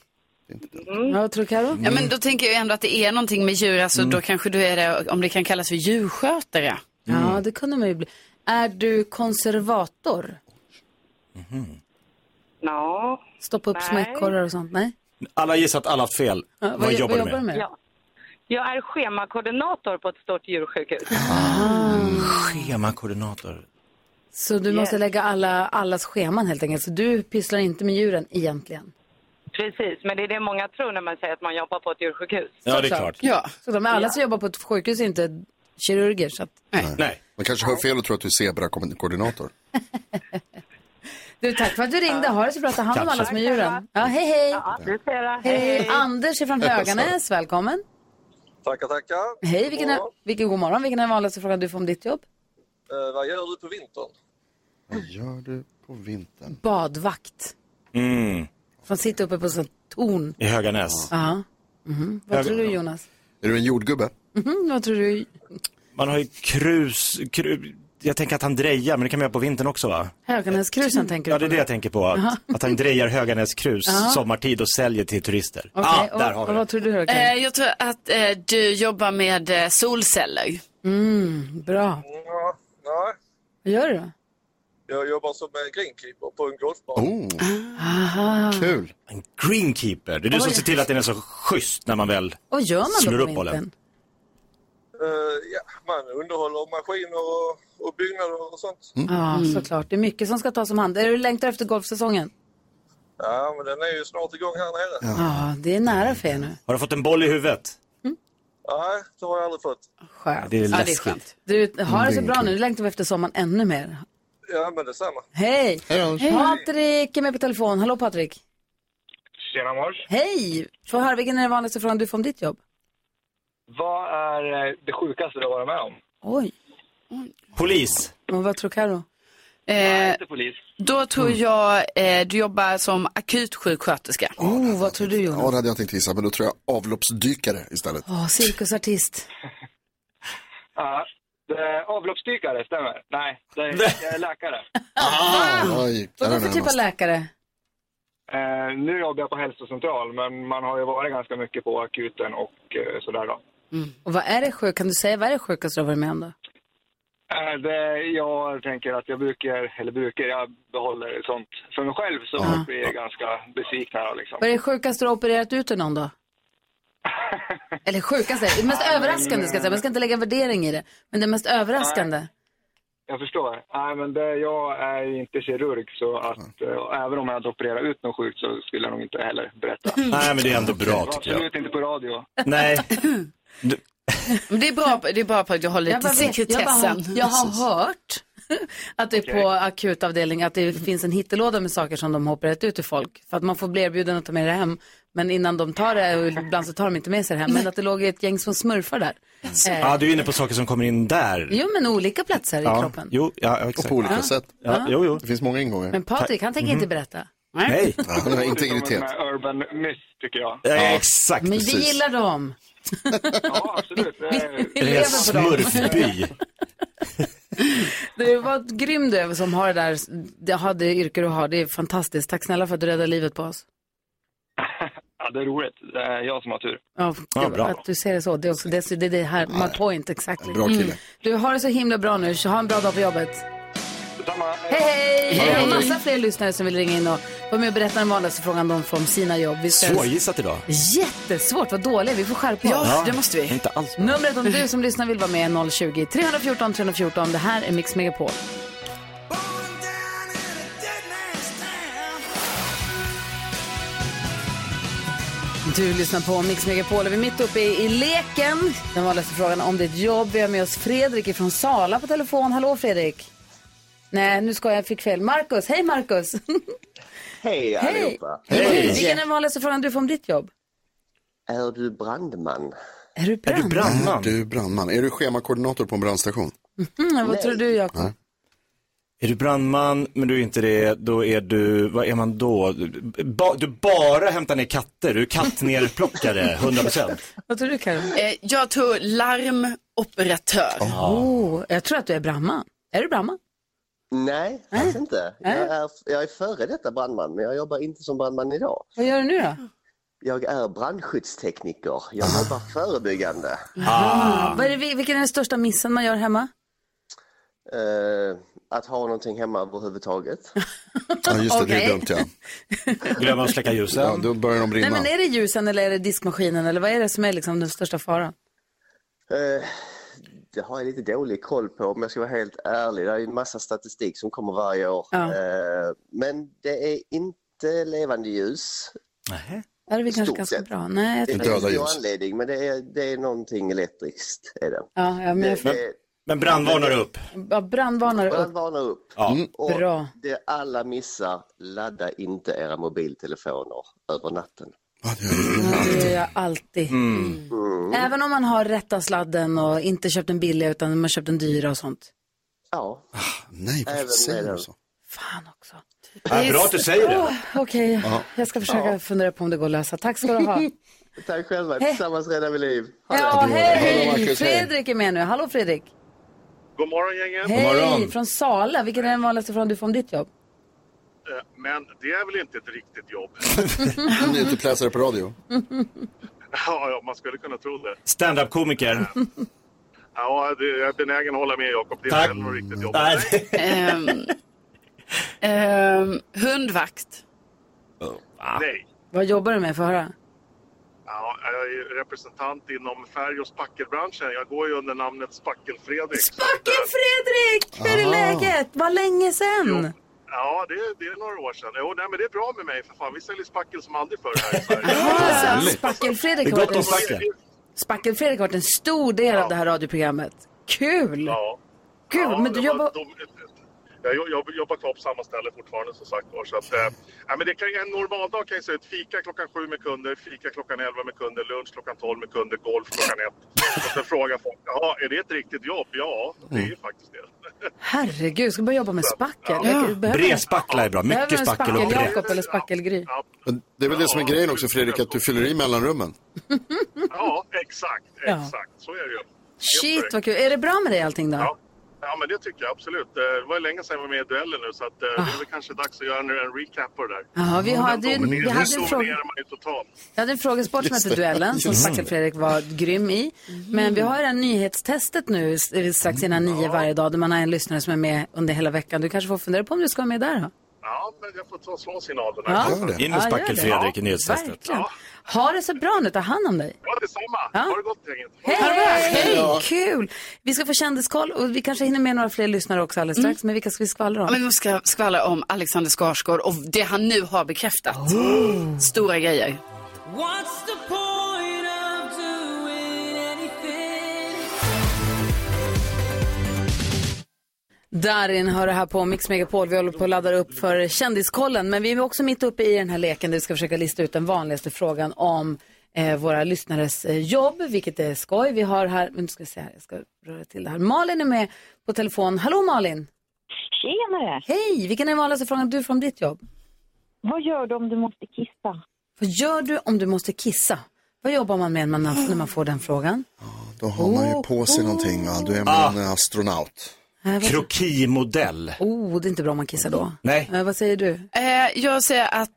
Speaker 1: Ja, vad tror du Karo?
Speaker 4: Ja, men då tänker jag ändå att det är någonting med djur,
Speaker 3: Mm.
Speaker 4: alltså då kanske du är det, om det kan kallas för djurskötare.
Speaker 9: Mm.
Speaker 1: Ja, det kunde man ju bli. Är du konservator?
Speaker 9: Ja.
Speaker 1: Stoppa upp
Speaker 9: Nej.
Speaker 1: smäckkorrar och sånt? Nej.
Speaker 8: Alla gissar att alla haft fel.
Speaker 1: Ja,
Speaker 8: vad, jobbar du med?
Speaker 9: ja. Jag är schemakoordinator på ett stort djursjukhus.
Speaker 1: Ah.
Speaker 8: Schemakoordinator.
Speaker 1: Så du måste lägga alla, allas scheman helt enkelt. Så du pysslar inte med djuren egentligen.
Speaker 9: Precis, men det är det många tror när man säger att man jobbar på ett djursjukhus.
Speaker 8: Ja, det är klart.
Speaker 4: Ja.
Speaker 1: Så de är alla som jobbar på ett sjukhus är inte kirurger. Så att...
Speaker 8: Nej.
Speaker 3: Man kanske hör fel och tror att du är zebrakoordinator.
Speaker 1: du, tack för att du ringde. Ha det så bra. Ta hand om alla som är djuren. Ja, hej, hej.
Speaker 9: Ja, du ser det.
Speaker 1: Hej. Anders är från Höganäs. Välkommen.
Speaker 10: Tackar, tackar.
Speaker 1: Hej, vilken är, vilken, god morgon. Vilken är den vanligaste frågan du får om ditt jobb?
Speaker 10: Eh, vad gör du på vintern?
Speaker 3: Vad gör du på vintern?
Speaker 1: Badvakt.
Speaker 8: Mm.
Speaker 1: Som sitter uppe på sånt torn.
Speaker 8: I Höganäs.
Speaker 1: Ja. Mhm. Vad
Speaker 8: Jag-
Speaker 1: tror du Jonas?
Speaker 3: Är du en jordgubbe?
Speaker 1: Mm, vad tror du?
Speaker 8: Man har ju krus, kru, jag tänker att han drejar, men det kan man göra på vintern också va?
Speaker 1: Höganäskrusen tänker du
Speaker 8: Ja, det är
Speaker 1: på
Speaker 8: det
Speaker 1: nu?
Speaker 8: jag tänker på. Att, att han drejar Höganäs krus sommartid och säljer till turister.
Speaker 1: Okej,
Speaker 8: ah, där
Speaker 1: och,
Speaker 8: har
Speaker 1: och
Speaker 8: vi det.
Speaker 1: vad tror du Högan?
Speaker 4: Eh, jag tror att eh, du jobbar med eh, solceller.
Speaker 1: Mm, Bra.
Speaker 10: Ja, nej.
Speaker 1: Vad gör du då?
Speaker 10: Jag jobbar som eh, greenkeeper på en golfbana.
Speaker 3: Oh,
Speaker 1: Ah.
Speaker 3: kul.
Speaker 8: En greenkeeper. Det är du som ser till att den är så schysst när man väl...
Speaker 1: Och vad gör man
Speaker 8: Slår
Speaker 1: då
Speaker 8: upp
Speaker 1: på
Speaker 8: bollen.
Speaker 1: vintern?
Speaker 10: Eh, ja, man underhåller maskiner och, och byggnader och sånt.
Speaker 8: Mm.
Speaker 1: Mm. Ja, såklart. Det är mycket som ska tas om hand. Är du längtar efter golfsäsongen?
Speaker 10: Ja, men den är ju snart igång här nere.
Speaker 1: Ja, det är nära för er nu.
Speaker 8: Har du fått en boll i huvudet?
Speaker 10: Nej, det har jag aldrig fått.
Speaker 1: Skönt.
Speaker 8: Det är
Speaker 4: Ja, det är
Speaker 8: läskigt.
Speaker 4: skönt.
Speaker 1: Du, har det så bra nu. Nu längtar vi efter sommaren ännu mer.
Speaker 10: Ja, men detsamma.
Speaker 1: Hej!
Speaker 3: Hej Anders.
Speaker 1: Patrik är med på telefon. Hallå Patrik.
Speaker 7: Tjena mors.
Speaker 1: Hej! Få höra, vilken är den vanligaste frågan du får om ditt jobb?
Speaker 7: Vad är eh, det sjukaste du har varit med om?
Speaker 1: Oj.
Speaker 8: Polis.
Speaker 1: Men vad tror Mm. Karo?
Speaker 4: Eh,
Speaker 7: Inte polis.
Speaker 4: då tror jag eh, du jobbar som akutsjuksköterska.
Speaker 1: Oh, vad tror du Jonas?
Speaker 3: Ja, det hade jag tänkt gissa, men då tror jag avloppsdykare istället.
Speaker 1: Åh, cirkusartist.
Speaker 7: Ja. Uh, avloppsdykare, stämmer? Nej, det är, jag är läkare.
Speaker 1: Ah.
Speaker 3: Oj, där är
Speaker 1: Vad för
Speaker 3: den
Speaker 1: typ av
Speaker 3: närmast.
Speaker 1: läkare?
Speaker 7: Eh, nu jobbar jag på hälsocentral, men man har ju varit ganska mycket på akuten och eh, sådär då.
Speaker 1: Och vad är det sjuk? Kan du säga vad är det sjukaste du har varit med om då?
Speaker 7: Eh, det, jag tänker att jag brukar, eller brukar, jag behåller sånt för mig själv så folk blir ganska besvikna då, liksom.
Speaker 1: Vad är det sjukaste du har opererat ut ur någon då? Eller sjukaste, det mest överraskande ska jag säga. Man ska inte lägga värdering i det. Men det mest överraskande.
Speaker 7: Jag förstår. Nej, men det, jag är inte kirurg, så att eh, även om jag hade opererat ut något sjukt så skulle jag nog inte heller berätta.
Speaker 8: Nej, men det är ändå bra tycker jag.
Speaker 7: Absolut inte på radio.
Speaker 8: Nej. Du,
Speaker 4: Men det är bra, det är bra på att jag håller
Speaker 1: Jag,
Speaker 4: till
Speaker 1: bara vet, jag, bara,
Speaker 4: sekretessen.
Speaker 1: har- jag har hört att det är
Speaker 4: Okej. Mm.
Speaker 1: på akutavdelning att det finns en hittelåda med saker som de har opererat ut till folk. För att man får bli erbjuden att ta med det hem. Men innan de tar det, och ibland så tar de inte med sig det hem. Men att det låg ett gäng som smurfar där.
Speaker 4: Alltså.
Speaker 1: Eh,
Speaker 8: Ja, du är inne på saker som kommer in där.
Speaker 1: Jo, men olika platser
Speaker 8: ja.
Speaker 1: i kroppen.
Speaker 8: Jo, ja, ja, exakt.
Speaker 1: Och på olika Ja. sätt.
Speaker 8: Ja,
Speaker 1: Ja.
Speaker 8: Jo, jo.
Speaker 3: Det finns många ingångar.
Speaker 1: Men Patrik, han tänker
Speaker 8: Mm-hmm.
Speaker 1: inte berätta.
Speaker 3: Nej. Han har
Speaker 7: Som
Speaker 3: integritet.
Speaker 7: en eh, urban myth, tycker jag.
Speaker 3: Ja, exakt.
Speaker 1: Men vi
Speaker 3: Precis.
Speaker 1: gillar dem. ja, absolut. Vi, vi, vi lever på dem.
Speaker 8: Smurfby.
Speaker 1: Du, vad grym du är som har det där, det, har det yrke du har. Det är fantastiskt. Tack snälla för att du räddade livet på oss.
Speaker 7: Ja, det är roligt. Det är jag som har tur.
Speaker 1: Ja, gud, Att du ser det så. Det är också det, det, är det här, my point, exactly. Mm.
Speaker 7: Bra kille.
Speaker 1: Du, har det så himla bra nu. Så ha en bra dag på jobbet. Hej, hej!
Speaker 8: Hej,
Speaker 1: Vi har
Speaker 8: hej.
Speaker 1: massa fler lyssnare som vill ringa in och vara med och berätta den vanligaste frågan de får om sina jobb. Vi ska-
Speaker 8: Svårgissat idag.
Speaker 1: Jättesvårt, vad dåliga vi får skärpa oss.
Speaker 8: Inte alls bra.
Speaker 1: Numret om du som lyssnar vill vara med är 020 314 314. Det här är Mix Megapol. Du lyssnar på Mix Megapol och vi är mitt uppe i, i leken. Den vanligaste frågan om ditt jobb. Vi har med oss Fredrik från Sala på telefon. Hallå Fredrik. Nej, nu ska jag, jag fick fel. Markus, hej Markus.
Speaker 11: Hej allihopa!
Speaker 1: Hej. Vilken är den vanligaste frågan du får om ditt jobb?
Speaker 11: Är du brandman?
Speaker 1: Är du
Speaker 3: Är
Speaker 1: brandman?
Speaker 3: du brandman? Är du brandman? Är du schemakoordinator på en brandstation?
Speaker 1: Mm, vad tror du Jakob?
Speaker 8: Är du brandman, men du är inte det, då är du, vad är man då? Du- Ba, du bara hämtar ner katter, du är kattnerplockare, 100%.
Speaker 1: Vad tror du Karin?
Speaker 4: Eh, jag tror larmoperatör.
Speaker 1: Oh, jag tror att du är brandman. Är du brandman?
Speaker 11: Nej, alls inte. Jag
Speaker 1: Nej.
Speaker 11: är, jag är före detta brandman, men jag jobbar inte som brandman idag.
Speaker 1: Vad gör du nu då?
Speaker 11: Jag är brandskyddstekniker. Jag jobbar förebyggande.
Speaker 1: Ah. Vad är det, vi- vilken är den största missen man gör hemma?
Speaker 11: Eh, att ha någonting hemma överhuvudtaget.
Speaker 3: Ja, just det, det är
Speaker 1: Okej.
Speaker 3: dumt ja.
Speaker 8: Glömma att släcka ljusen.
Speaker 3: Ja, då börjar de brinna.
Speaker 1: Nej, men är det ljusen eller är det diskmaskinen eller vad är det som är liksom den största faran?
Speaker 11: Eh, det har jag lite dålig koll på om jag ska vara helt ärlig. Det är ju en massa statistik som kommer varje år.
Speaker 1: Ja.
Speaker 11: Eh, men det är inte levande ljus.
Speaker 1: Är det är väl kanske
Speaker 11: Stort
Speaker 1: ganska
Speaker 11: sett.
Speaker 1: bra? Nej, jag
Speaker 11: Det
Speaker 1: tror
Speaker 11: finns
Speaker 1: inte.
Speaker 11: en stor anledning, men det är, det är någonting elektriskt. Är det.
Speaker 1: Ja, ja, men jag
Speaker 11: det,
Speaker 1: får-
Speaker 11: det,
Speaker 8: Men brandvarnare upp.
Speaker 1: ja, brandvarnare upp.
Speaker 11: Brandvarnare upp. Mm.
Speaker 8: Ja.
Speaker 11: Och
Speaker 1: Bra.
Speaker 11: det alla missar, ladda inte era mobiltelefoner över natten.
Speaker 1: Ja, det gör jag alltid. Mm. Även om man har rätta sladden och inte köpt den billiga utan man har köpt den dyra och sånt.
Speaker 11: Ja.
Speaker 3: Ah, Nej,
Speaker 11: varför säger du så?
Speaker 8: Ja, bra att du säger det.
Speaker 1: Åh, Okej, jag ska försöka fundera på om det går att lösa. Tack ska du ha.
Speaker 11: Tack själva,
Speaker 1: Hej.
Speaker 11: tillsammans räddar vi liv. Ha det.
Speaker 1: Ja,
Speaker 11: Hallå,
Speaker 1: hej!
Speaker 11: Marcus, hej.
Speaker 1: Fredrik är med nu. Hallå Fredrik.
Speaker 12: God morgon gänget.
Speaker 1: Hej, från Sala. Vilken är den vanligaste frågan du får om ditt jobb?
Speaker 12: Eh, Men det är väl inte ett riktigt jobb?
Speaker 3: Om du inte pläsar det på radio.
Speaker 12: ja, ja, man skulle kunna tro det.
Speaker 8: Standup-komiker.
Speaker 12: Ja, det, jag är benägen att hålla med Jakob. Det är
Speaker 8: Tack.
Speaker 12: väl något riktigt jobb.
Speaker 8: Nej.
Speaker 4: Ehm, ehm, hundvakt.
Speaker 12: Nej.
Speaker 1: Vad jobbar du med? Får jag höra.
Speaker 12: Ja, jag är representant inom färg och spackelbranschen. Jag går ju under namnet Spackel-Fredrik.
Speaker 1: Spackel-Fredrik! Hur är
Speaker 12: Aha.
Speaker 1: läget? Vad länge sen?
Speaker 12: Ja, det, är- det är några år sedan. Jo, nej, men det är bra med mig för fan. Vi säljer spackel som aldrig förr här i
Speaker 1: Jaha,
Speaker 12: Sverige.
Speaker 1: Spackel-Fredrik
Speaker 12: Det är
Speaker 1: har, varit
Speaker 12: gott om
Speaker 1: en-
Speaker 12: spackel.
Speaker 1: Spackel-Fredrik har varit en stor del av det här radioprogrammet. Kul! Ja. Gud,
Speaker 12: Ja,
Speaker 1: men du
Speaker 12: det var-
Speaker 1: jobbar...
Speaker 12: de- Jag jo- jag jobbar kvar på samma ställe fortfarande som sagt var. Så att, eh, ja, men det kan, ju- en normal dag kan jag säga ut fika klockan sju med kunder, fika klockan elva med kunder, lunch klockan tolv med kunder, golf klockan ett. Och sen frågar folk, ja, är det ett riktigt jobb? Ja, det är ju faktiskt det.
Speaker 1: Herregud, ska du börja jobba med spackel? Jag behöver-
Speaker 8: Bredspackla är bra,
Speaker 1: behöver
Speaker 8: mycket
Speaker 1: en
Speaker 8: spackel och brett.
Speaker 1: Spackel-Jakob eller spackelgry.
Speaker 3: Men det är väl det som är grejen också Fredrik, att du fyller i mellanrummen.
Speaker 1: Mm.
Speaker 12: Ja, exakt, exakt. Så är det ju.
Speaker 1: Shit, vad kul. Är det bra med dig allting då?
Speaker 12: Ja. Ja, men det tycker jag absolut. Eh, Det var ju länge sedan jag var med i duellen nu så att, eh, det är väl kanske dags att göra en en recap på det där.
Speaker 1: Ah. Ja, vi hade ju-
Speaker 12: Den dominer-
Speaker 1: vi hade en
Speaker 12: den
Speaker 1: fråga-
Speaker 12: dominerar man ju totalt.
Speaker 1: Jag hade en frågesport som
Speaker 12: Just
Speaker 1: hette
Speaker 12: det. Mm.
Speaker 1: Duellen som
Speaker 12: Just
Speaker 1: Spackel
Speaker 12: det.
Speaker 1: Fredrik var grym i. Men vi har ju det här nyhetstestet nu s- strax innan
Speaker 12: Mm.
Speaker 1: nio varje dag där man har en lyssnare som är med under hela veckan. Du kanske får fundera på om du ska vara med där då?
Speaker 12: Ja, men jag får ta och slå signalerna.
Speaker 8: In med spackel-Fredrik i nyhetstestet.
Speaker 1: Verkligen. Ha det så bra nu, ta hand om dig.
Speaker 12: Ja, detsamma. Ha det gott gänget.
Speaker 1: Hej!
Speaker 4: Hej
Speaker 1: Hej!
Speaker 4: då.
Speaker 1: Kul! Vi ska få kändiskoll och vi kanske hinner med några fler lyssnare också alldeles
Speaker 4: Mm.
Speaker 1: strax. Men vilka ska vi skvallra om?
Speaker 4: Ja, Men vi ska skvallra om Alexander Skarsgård och det han nu har bekräftat. Stora grejer.
Speaker 13: What's the point of doing anything?
Speaker 1: Darin hör det här på Mix Megapol. Vi håller på att ladda upp för Kändiskollen. Men vi är också mitt uppe i den här leken där vi ska försöka lista ut den vanligaste frågan om eh, våra lyssnares eh, jobb, vilket är skoj. Vi har här, nu ska vi se här, jag ska röra till det här. Malin är med på telefon. Hallå Malin!
Speaker 13: Tjenare!
Speaker 1: Hej! Vilken är den vanligaste frågan du får om ditt jobb?
Speaker 13: Vad gör du om du måste kissa?
Speaker 1: Vad gör du om du måste kissa? Vad jobbar man med när man, när man får den frågan?
Speaker 3: Då har man ju på sig någonting, va? då är
Speaker 8: Ah.
Speaker 3: man en astronaut.
Speaker 1: Äh, vad-
Speaker 8: Krokimodell.
Speaker 1: Oh, det är inte bra om man kissar då.
Speaker 8: Nej.
Speaker 1: Eh, vad säger du?
Speaker 4: Eh, jag säger att,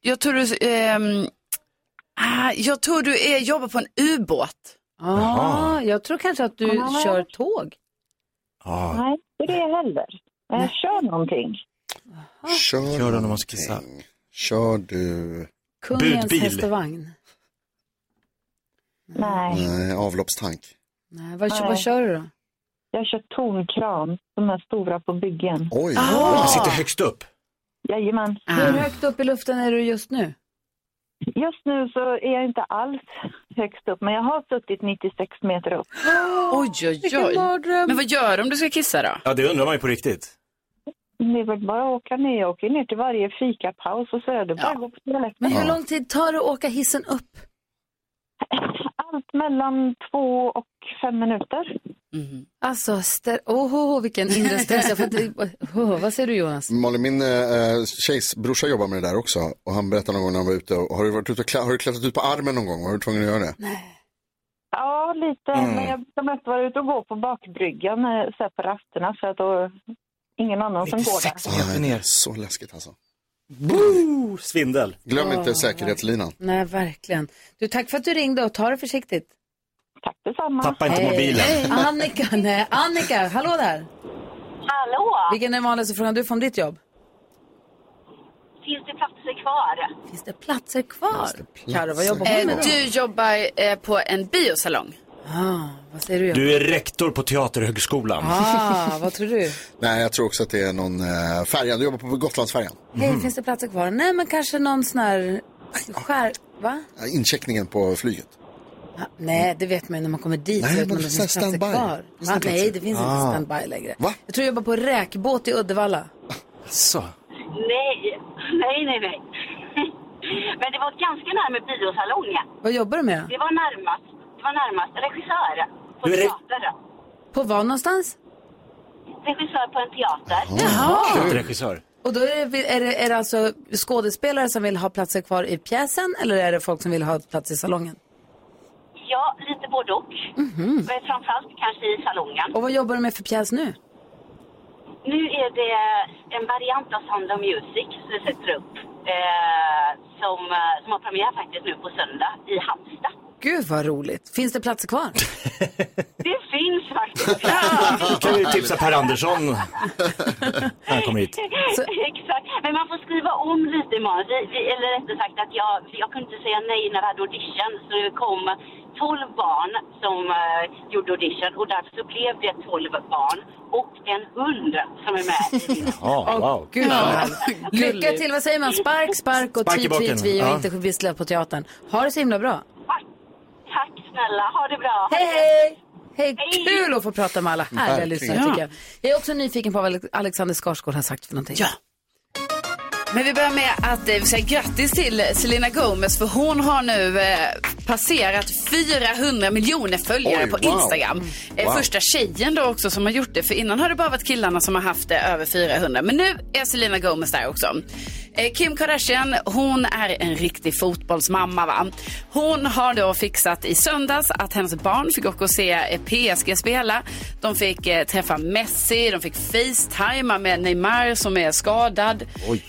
Speaker 4: jag tror du, ehm, ah, jag tror du är, jobbar på en ubåt.
Speaker 1: Ah, jag tror kanske att du
Speaker 4: Ah.
Speaker 1: kör tåg.
Speaker 9: Ah.
Speaker 13: Nej, det är det heller. Jag kör någonting.
Speaker 3: Kör, Kör du när man ska kissa? Kör du...
Speaker 1: Kungens häst och vagn.
Speaker 13: Nej.
Speaker 3: Nej, avloppstank.
Speaker 1: Nej, vad, vad kör du då?
Speaker 13: Jag kör tornkran, de här stora på byggen.
Speaker 3: Oj! Ah.
Speaker 8: Man sitter högst upp.
Speaker 13: Jajamän.
Speaker 1: Ah! Hur högt upp i luften är du just nu?
Speaker 13: Just nu så är jag inte alls högst upp, men jag har suttit 96 meter upp.
Speaker 4: Oj, oj, oj. Men vad gör du om du ska kissa då?
Speaker 8: Ja, det undrar man ju på riktigt.
Speaker 13: Det är väl bara att åka ner. Jag åker ner till varje fikapaus och så är det bara att gå på toaletten.
Speaker 1: Men Mm. hur lång tid tar det att åka hissen upp?
Speaker 13: Allt mellan två och fem minuter.
Speaker 1: Alltså, stä- oh, oh, oh, vilken inre stress. Jag får inte... oh, vad säger du Jonas?
Speaker 3: Malin, min eh, tjejs brorsa jobbar med det där också och han berättade någon gång när han var ute, och, har, du varit ute och klä, har du klättrat ut på armen någon gång? Har du tvungen att göra det?
Speaker 13: Ja, lite.
Speaker 3: Mm.
Speaker 13: Men jag brukar mest vara ute och gå på bakbryggan eh, så här på rasterna för att då ingen annan som går där.
Speaker 3: Nej, det är så läskigt alltså.
Speaker 8: Boo! Svindel.
Speaker 3: Glöm
Speaker 1: Åh,
Speaker 3: inte säkerhetslinan.
Speaker 1: Nej, verkligen. Du, tack för att du ringde och ta det försiktigt.
Speaker 13: Tack detsamma.
Speaker 3: Tappa inte mobilen.
Speaker 1: Annika, nej. Annika, hallå där.
Speaker 14: Hallå!
Speaker 1: Vilken är den vanligaste frågan du får om ditt jobb?
Speaker 14: Finns det platser kvar?
Speaker 1: Finns det platser kvar? Karo, vad jobbar hon med
Speaker 4: Eh,
Speaker 1: då?
Speaker 4: du jobbar eh, på en biosalong.
Speaker 1: Ah, vad säger du?
Speaker 8: Du är rektor på Teaterhögskolan.
Speaker 1: Ah, vad tror du?
Speaker 3: Nej, jag tror också att det är någon eh, färjan, du jobbar på Gotlandsfärjan.
Speaker 1: Mm. Hej, finns det platser kvar? Nej, men kanske någon sån här skär... Va?
Speaker 3: Ja, Incheckningen på flyget.
Speaker 1: Ja, Nej, det vet man ju när man kommer dit.
Speaker 3: Nej,
Speaker 1: så vet
Speaker 3: men
Speaker 1: man att det
Speaker 3: så här
Speaker 1: finns platser
Speaker 3: standby.
Speaker 1: kvar.
Speaker 3: Finns det
Speaker 1: Va?
Speaker 3: platser?
Speaker 1: Nej, det finns
Speaker 3: Ah.
Speaker 1: inte standby längre.
Speaker 3: Va?
Speaker 1: Jag tror jag jobbar på räkbåt i Uddevalla.
Speaker 8: Så.
Speaker 14: Nej, nej, nej, nej. Men det var ganska närmare biosalongen.
Speaker 1: Vad jobbar du med?
Speaker 14: Det var närmast, det var närmast regissör på
Speaker 1: Du är re-
Speaker 14: teater.
Speaker 1: På var någonstans?
Speaker 14: Regissör på en teater.
Speaker 8: Regissör.
Speaker 1: Och då är det, är, det, är det alltså skådespelare som vill ha platser kvar i pjäsen eller är det folk som vill ha plats i salongen?
Speaker 14: Ja, lite både och.
Speaker 1: Mhm.
Speaker 14: Men framförallt kanske i salongen.
Speaker 1: Och vad jobbar du med för pjäs nu?
Speaker 14: Nu är det en variant av Sound of Music som vi sätter upp. Eh, som, eh, som har premiär faktiskt nu på söndag i Halmstad.
Speaker 1: Gud vad roligt. Finns det platser kvar?
Speaker 14: Det finns faktiskt.
Speaker 8: Då kan vi tipsa Per Andersson när han kommer hit.
Speaker 14: Exakt. Men man får skriva om lite i manus. Vi, vi, eller rättare sagt att jag, jag kunde inte säga nej när vi hade audition. Så det kom 12 barn som eh, gjorde audition och därför så blev det 12 barn och en hund som är med.
Speaker 8: Ja, wow.
Speaker 1: Gud vad härligt. Lycka till. Vad säger man? Spark, spark och
Speaker 8: Spark i
Speaker 1: tvi, tvi,
Speaker 8: baken.
Speaker 1: tvi och
Speaker 8: Ja.
Speaker 1: inte vissla på teatern. Ha det så himla bra.
Speaker 14: Tack snälla, ha det bra.
Speaker 1: Hej, hej! Hej, kul att få prata med alla härliga
Speaker 4: Verkligen.
Speaker 1: lyssnare
Speaker 4: Ja.
Speaker 1: tycker jag. Jag är också nyfiken på vad Ale- Alexander Skarsgård har sagt för någonting. Ja.
Speaker 4: Men vi börjar med att eh, vi säger grattis till Selena Gomez för hon har nu eh, passerat 400 miljoner följare
Speaker 15: Oj,
Speaker 4: på
Speaker 15: wow.
Speaker 4: Instagram. Eh,
Speaker 15: Wow.
Speaker 4: Första tjejen då också som har gjort det. För innan har det bara varit killarna som har haft det över 400. Men nu är Selena Gomez där också. Eh, Kim Kardashian, hon är en riktig fotbollsmamma va. Hon har då fixat i söndags att hennes barn fick åka och se eh, PSG spela. De fick eh, träffa Messi, de fick facetima med Neymar som är skadad.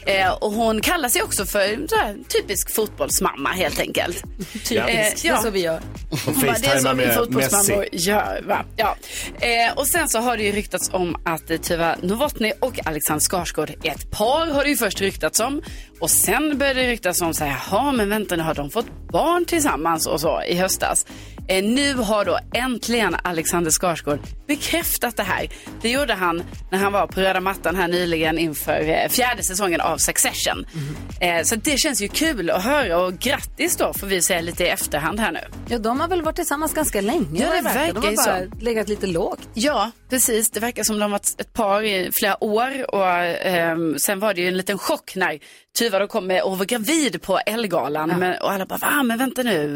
Speaker 4: Eh, och hon kallar sig också för så här, typisk fotbollsmamma helt enkelt. Eh,
Speaker 1: Typiskt, det är så vi gör.
Speaker 4: Hon bara, det är
Speaker 1: facetimar
Speaker 4: så vi
Speaker 1: med
Speaker 4: fotbollsmammor
Speaker 1: Messi.
Speaker 4: gör. Va? Ja. Eh, och sen så har det ju ryktats om att eh, Tuva Novotny och Alexander Skarsgård är ett par har det ju först ryktats om. Och sen började det ryktas om så här, jaha men vänta nu har de fått barn tillsammans och så i höstas. Eh, nu har då äntligen Alexander Skarsgård bekräftat det här. Det gjorde han när han var på röda mattan här nyligen inför eh, fjärde säsongen av Succession.
Speaker 1: Mhm.
Speaker 4: Eh, så det känns ju kul att höra och grattis då får vi säga lite i efterhand här nu.
Speaker 1: Ja, de har väl varit tillsammans ganska länge?
Speaker 4: Ja, det
Speaker 1: vad De
Speaker 4: verkar
Speaker 1: har
Speaker 4: ju
Speaker 1: bara legat lite lågt.
Speaker 4: Ja, precis. Det verkar som de har varit ett par i flera år. Och, ehm, sen var det ju en liten chock när Tuva då kom med och var gravid på Ellegalan. Men, och alla bara, va, men vänta nu,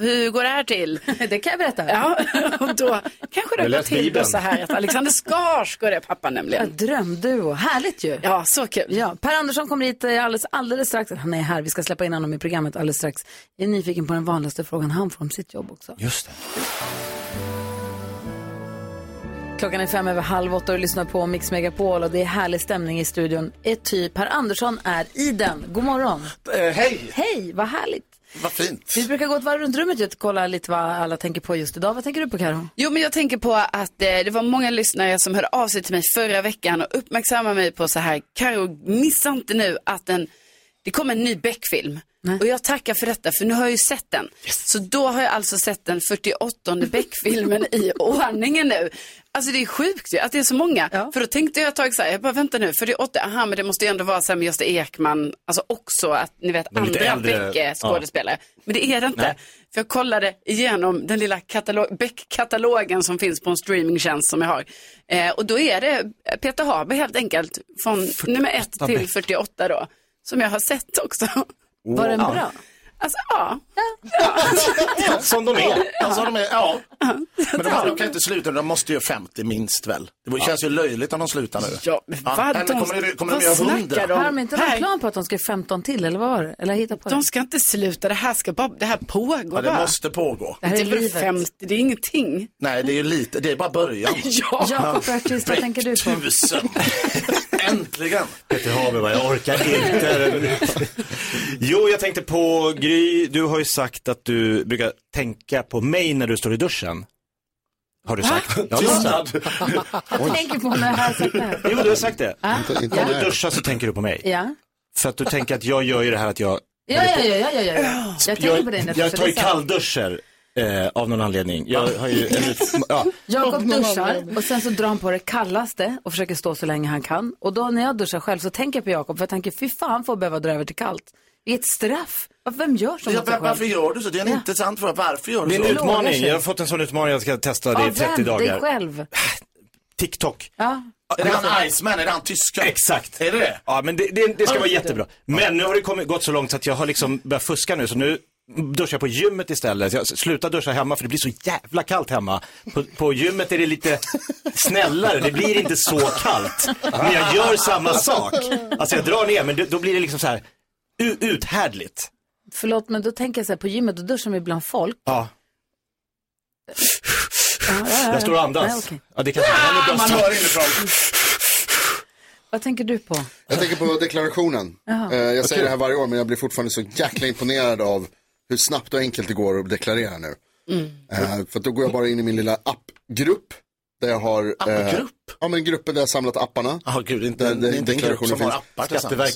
Speaker 4: hur går det här till?
Speaker 1: det kan jag berätta.
Speaker 4: Ja, och då kanske
Speaker 1: Jag
Speaker 4: det går
Speaker 1: läste
Speaker 4: till då
Speaker 1: Bibeln.
Speaker 4: så här att Alexander Skarsgård är pappa nämligen.
Speaker 1: Drömduo, härligt ju.
Speaker 4: Ja, så kul.
Speaker 1: Ja, per Andersson kommer hit eh, alldeles, alldeles strax. Han är här, vi ska släppa in honom i programmet alldeles strax. Jag är nyfiken på den vanligaste frågan han får om sitt jobb också.
Speaker 5: Just det.
Speaker 1: Klockan är fem över halv åtta och du lyssnar på Mix Megapol och det är härlig stämning i studion. Ett typ, Per Andersson är i den. God morgon.
Speaker 15: Eh, hej!
Speaker 1: Hej, vad härligt.
Speaker 3: Vad fint.
Speaker 1: Vi brukar gå ett varv runt rummet och kolla lite vad alla tänker på just idag. Vad tänker du på Karo?
Speaker 4: Jo, men jag tänker på att eh, det var många lyssnare som hörde av sig till mig förra veckan och uppmärksammade mig på så här, Karo, missa inte nu att den, det kommer en ny Beck-film. Och jag tackar för detta, för nu har jag ju sett den. Så då har jag alltså sett den 48 Beck-filmen i ordningen nu. Alltså det är sjukt ju, att det är så många. För då tänkte jag ett tag så här, jag bara vänta nu, 48, aha men det måste ju ändå vara så här med Gösta Ekman, alltså också att ni vet
Speaker 15: De lite
Speaker 4: andra
Speaker 15: äldre,
Speaker 4: Beck-skådespelare. Men det är det inte.
Speaker 15: Nej.
Speaker 4: För jag kollade igenom den lilla katalog- Beck-katalogen som finns på en streamingtjänst som jag har. Eh, och då är det Peter Haber helt enkelt, från nummer 1 till
Speaker 15: Beck.
Speaker 4: 48 då, som jag har sett också.
Speaker 15: Var den Wow. bra?
Speaker 4: Alltså ja.
Speaker 15: Som de är. Alltså, de är ja. Men de, här, de kan inte sluta, de måste ju 50 minst väl. Det känns ju löjligt om de slutar nu.
Speaker 4: Ja, men
Speaker 1: Vad
Speaker 15: eller
Speaker 1: de-
Speaker 15: kommer de, kommer
Speaker 1: vad
Speaker 15: de göra
Speaker 1: snackar
Speaker 15: 100?
Speaker 1: de? Har de inte någon
Speaker 4: Nej.
Speaker 1: plan på att de ska göra 15 till eller vad var det? Eller hitta på det?
Speaker 4: De ska inte sluta, det här, ska bara, det här pågår
Speaker 15: Ja, det
Speaker 4: bara.
Speaker 15: måste pågå.
Speaker 1: Det här är
Speaker 4: väl
Speaker 1: livet.
Speaker 4: 50, det är ingenting.
Speaker 15: Nej, det är ju lite, det är bara början.
Speaker 4: Ja. Jakob Bergqvist, vad tänker du på?
Speaker 15: Tusen. Äntligen.
Speaker 8: Peter Haber bara, jag orkar inte. jo, jag tänkte på Gry, du har ju sagt att du brukar tänka på mig när du står i duschen. Har du sagt?
Speaker 1: Ah!
Speaker 8: Ja, det har du sagt.
Speaker 1: Jag tänker på när jag har sett det här.
Speaker 8: Jo, du har sagt det.
Speaker 1: Ah. Inte- inte
Speaker 8: Om du
Speaker 1: där.
Speaker 8: duschar så tänker du på mig.
Speaker 1: Ja.
Speaker 8: För att du tänker att jag gör ju det här att jag
Speaker 1: Ja, ja, ja, ja, ja, ja. Jag tänker på dig
Speaker 8: jag,
Speaker 1: Nettie,
Speaker 8: jag
Speaker 1: så Ah!
Speaker 8: tar
Speaker 1: det är
Speaker 8: ju
Speaker 1: sant.
Speaker 8: kallduschar eh, av någon anledning. Jag har ju en, ut- ja.
Speaker 1: Jakob
Speaker 15: någon
Speaker 1: duschar
Speaker 15: anledning.
Speaker 1: och sen så drar han på det kallaste och försöker stå så länge han kan. Och då när jag duschar själv så tänker jag på Jakob för jag tänker fy fan får jag behöva dra över till kallt. Vilket straff. Varför- Vem gör så
Speaker 15: Ja,
Speaker 1: mot sig
Speaker 15: var-
Speaker 1: själv?
Speaker 15: varför gör du så? Det är en
Speaker 1: Ja.
Speaker 15: intressant fråga. Varför gör du
Speaker 8: Det
Speaker 15: så?
Speaker 8: är en utmaning. Jag har fått en sån utmaning jag ska testa det i
Speaker 1: Av
Speaker 8: 30
Speaker 1: vem? Dig
Speaker 8: dagar.
Speaker 1: själv.
Speaker 8: TikTok.
Speaker 1: Ja.
Speaker 15: Är det han Iceman? Är det han tysken?
Speaker 8: Exakt.
Speaker 15: Är det det?
Speaker 8: Ja, men det, det, det ska
Speaker 15: Ja,
Speaker 8: vara
Speaker 15: det-
Speaker 8: jättebra. Men nu har det kommit, gått så långt så att jag har liksom börjat fuska nu, så nu duschar jag på gymmet istället. Jag slutar duscha hemma för det blir så jävla kallt hemma. På, på gymmet är det lite snällare, det blir inte så kallt. Men jag gör samma sak. Alltså jag drar ner, men det, då blir det liksom så här u- uthärdligt.
Speaker 1: Förlåt men då tänker jag så här på gymmet och duschar man bland folk.
Speaker 8: Ja.
Speaker 1: Ja, ja, ja, ja.
Speaker 8: Jag står och andas.
Speaker 1: Nej, okej.
Speaker 8: Ja, det kanske man är
Speaker 15: Man
Speaker 8: bäst.
Speaker 15: hör inifrån.
Speaker 1: Vad tänker du på?
Speaker 3: Jag tänker på deklarationen.
Speaker 1: Jaha.
Speaker 3: Eh, Jag
Speaker 1: Okej.
Speaker 3: säger det här varje år men jag blir fortfarande så jäkla imponerad av hur snabbt och enkelt det går att deklarera nu. Eh, För att då går jag bara in i min lilla appgrupp. Där jag har... eh,
Speaker 15: Appgrupp?
Speaker 3: ja men gruppen där jag samlat apparna.
Speaker 15: Ja, gud, inte,
Speaker 3: Där-
Speaker 15: en-
Speaker 3: där
Speaker 15: inte en grupp
Speaker 3: deklarationen
Speaker 15: som har
Speaker 3: finns.
Speaker 15: appar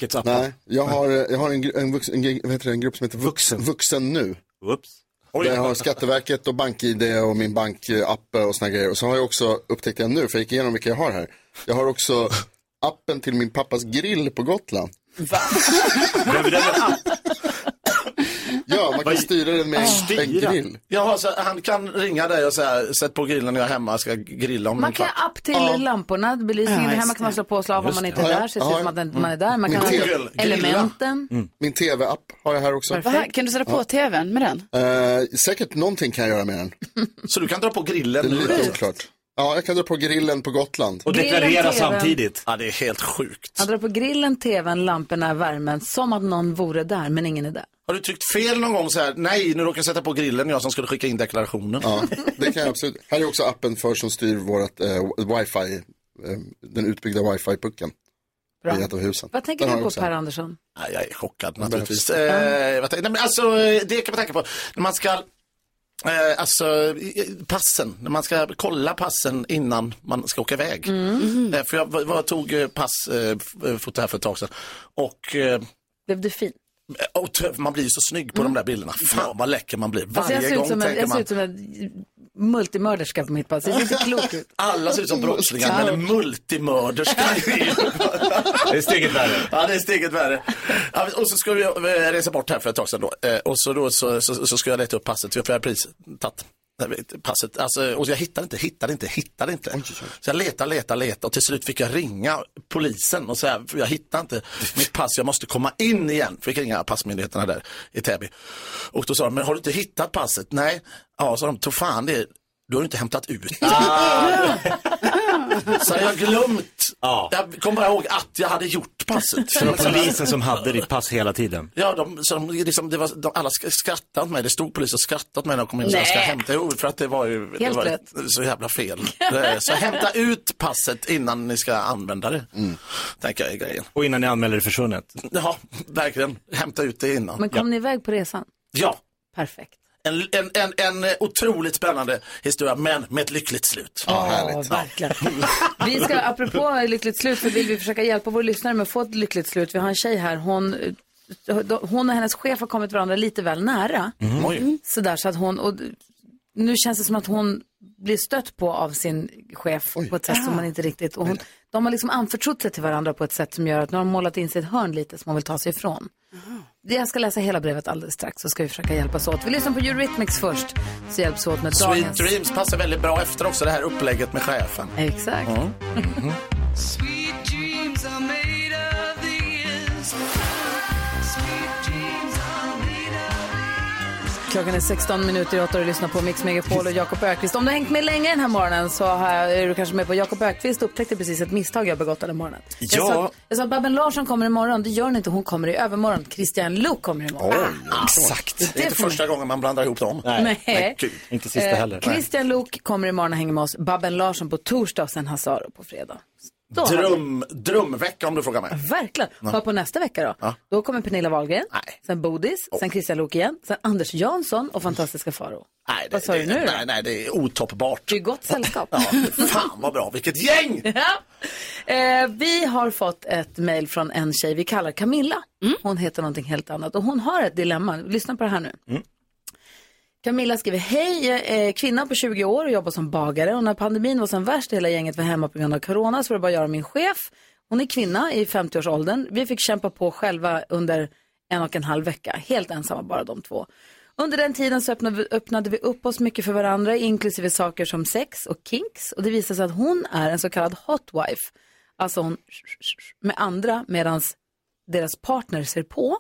Speaker 15: tillsammans.
Speaker 3: Nej, jag har, eh, jag har en, gru- en, vux, en, gru- vad heter det, en grupp som heter Vuxen, vuxen nu.
Speaker 8: Whoops.
Speaker 3: Där jag har Skatteverket och BankID och min bankapp och såna grejer. Och så har jag också, upptäckte jag nu, för jag gick igenom vilka jag har här. Jag har också appen till min pappas grill på Gotland. Ja, man kan styra den med en, en grill.
Speaker 15: Ja, så han kan ringa dig och säga, sätt på grillen när jag är hemma, jag ska grilla om
Speaker 1: Man
Speaker 15: en
Speaker 1: kan
Speaker 15: kvart."
Speaker 1: ha app till
Speaker 15: Ja.
Speaker 1: lamporna, belysningen
Speaker 15: Ja,
Speaker 1: där
Speaker 15: just
Speaker 1: hemma kan man
Speaker 15: det.
Speaker 1: slå på och slå av om
Speaker 15: Just
Speaker 1: man
Speaker 15: det.
Speaker 1: inte är
Speaker 15: Ja,
Speaker 1: där
Speaker 15: ja.
Speaker 1: så det ser ut som att den- man är där. Man kan ha
Speaker 3: Min tv.
Speaker 1: elementen.
Speaker 15: Mm.
Speaker 3: Min tv-app har jag här också.
Speaker 4: Vad här- Kan du sätta på tvn med den?
Speaker 3: Eh, säkert någonting kan jag göra med den.
Speaker 15: Så du kan dra på grillen?
Speaker 3: Det är lite oklart. Ja, jag kan dra på grillen på Gotland.
Speaker 1: Och deklarera Grillen, TV:n. samtidigt.
Speaker 15: Ja, det är helt sjukt.
Speaker 1: Han drar på grillen, tvn, lamporna, värmen som att någon vore där men ingen är där.
Speaker 15: Har du tryckt fel någon gång så här, nej, nu råkar jag sätta på grillen, jag som skulle skicka in deklarationen.
Speaker 3: Ja, det kan jag absolut. Här är också appen för som styr vårt eh, wifi, eh, den utbyggda wifi-pucken.
Speaker 1: Bra.
Speaker 3: I ett av husen.
Speaker 1: Vad tänker
Speaker 3: Den har
Speaker 1: du
Speaker 3: jag
Speaker 1: på
Speaker 3: också.
Speaker 1: Per Andersson?
Speaker 15: Ja, jag är chockad naturligtvis. Eh, vad tänk- nej, men alltså, eh, det kan man tänka på. När man ska, eh, alltså eh, passen, när man ska kolla passen innan man ska åka iväg. Eh, för jag var, var, tog eh, pass eh, f- eh, fot här för ett tag sedan. Och eh,
Speaker 1: Blev du fin? Mm.
Speaker 15: Och tö- man blir ju så snygg på de där bilderna. Fan vad läcker man blir.
Speaker 1: Alltså
Speaker 15: Varje
Speaker 1: jag ser ut
Speaker 15: gång
Speaker 1: som en,
Speaker 15: tänker
Speaker 1: jag ser
Speaker 15: man.
Speaker 1: ut som en multimörderska på mitt pass. Det ser inte klokt ut.
Speaker 15: Alla ser ut som brottslingar, men multimörderska är ju-
Speaker 8: Det är steget värre.
Speaker 15: Ja, det är steget värre. Ja, och så ska vi eh, resa bort här för ett tag sedan då. Eh, Och så, då, så, så, så ska jag leta upp passet, för jag har pris tatt. Nej, Passet, alltså, och jag hittade inte, hittade inte, hittade inte. Så jag letade, letade, letade och till slut fick jag ringa polisen och säga, för jag hittar inte mitt pass, jag måste komma in igen. Fick ringa passmyndigheterna där i Täby. Och då sa de, men har du inte hittat passet? Nej. Ja, sa de, tro fan det, du har ju inte hämtat ut det." Så jag har glömt. Jag kommer bara ihåg att jag hade gjort passet.
Speaker 8: Så det var polisen som hade ditt pass hela tiden.
Speaker 15: Ja, de, så de, liksom, det var, de, alla sk- skrattade åt mig. Det stod polis och skrattade åt mig när de kom in och sa jag ska
Speaker 8: Nej.
Speaker 15: hämta ut för att det var ju det
Speaker 8: Helt
Speaker 15: var ju
Speaker 8: rätt.
Speaker 15: så jävla fel. Eh, så hämta ut passet innan ni ska använda det, tänker jag är grejen.
Speaker 8: Mm. Och innan ni anmäler det försvunnet.
Speaker 15: Ja, verkligen. Hämta ut det innan.
Speaker 1: Men kom ni iväg på resan?
Speaker 15: Ja.
Speaker 1: Perfekt.
Speaker 15: En, en, en, en eh, otroligt spännande historia, men med ett lyckligt slut.
Speaker 1: Ja, härligt. verkligen. Vi ska, apropå lyckligt slut, så vill vi försöka hjälpa våra lyssnare med att få ett lyckligt slut. Vi har en tjej här, hon, hon och hennes chef har kommit varandra lite väl nära. Mm.
Speaker 15: Mhm. Oj.
Speaker 1: Sådär, så att hon, och nu känns det som att hon blir stött på av sin chef på ett sätt
Speaker 15: Ah.
Speaker 1: som man inte riktigt, och hon, de har liksom anförtrott sig till varandra på ett sätt som gör att nu har de målat in sig i ett hörn lite som hon vill ta sig ifrån. Jag ska läsa hela brevet alldeles strax så ska vi försöka hjälpas åt. Vi lyssnar på Eurythmics först, så hjälps vi åt med
Speaker 15: Sweet
Speaker 1: dagens...
Speaker 15: Dreams passar väldigt bra efter också det här upplägget med chefen.
Speaker 1: Exakt.
Speaker 15: Mm. Mhm.
Speaker 16: Sweet dreams are made of these. Sweet dreams are made of
Speaker 1: Klockan är 16 minuter i åtta och du lyssnar på Mix Megapol och Jakob Ökvist. Om du har hängt med länge den här morgonen så har- är du kanske med på Jakob Ökvist upptäckte precis ett misstag jag begått den här morgonen. Jag
Speaker 16: Ja.
Speaker 1: sa, jag sa Babben Larsson kommer imorgon, det gör hon inte, hon kommer i övermorgon. Christian Luuk kommer imorgon.
Speaker 15: exakt. Det är inte första gången man blandar ihop dem.
Speaker 1: Nej. Nej,
Speaker 15: gud.
Speaker 8: Inte
Speaker 1: Eh, Christian Luuk kommer imorgon och hänger med oss, Babben Larsson på torsdag och sen Hazaro på fredag. Då har vi-
Speaker 15: Dröm, drömvecka om du frågar mig.
Speaker 1: Verkligen.
Speaker 15: Ja.
Speaker 1: Hör på nästa vecka då.
Speaker 15: Ja.
Speaker 1: Då kommer Pernilla Wahlgren, sen Bodis, sen Christian Luuk igen, sen Anders Jansson och fantastiska Faro.
Speaker 15: Nej,
Speaker 1: Vad sa du nu då?
Speaker 15: Nej, nej, det är otoppbart.
Speaker 1: Det är gott sällskap.
Speaker 15: Fan vad bra, vilket gäng!
Speaker 1: Ja. Eh, vi har fått ett mejl från en tjej vi kallar Camilla. Hon heter någonting helt annat och hon har ett dilemma. Lyssna på det här nu. Camilla skriver, hej, jag är kvinna på 20 år och jobbar som bagare och när pandemin var som värst och hela gänget var hemma på grund av corona så var det bara jag och min chef. Hon är kvinna i 50-årsåldern. Vi fick kämpa på själva under en och en halv vecka, helt ensamma bara de två. Under den tiden så öppnade vi, öppnade vi upp oss mycket för varandra, inklusive saker som sex och kinks. Och det visade sig att hon är en så kallad hot wife. Alltså hon med andra medan deras partner ser på.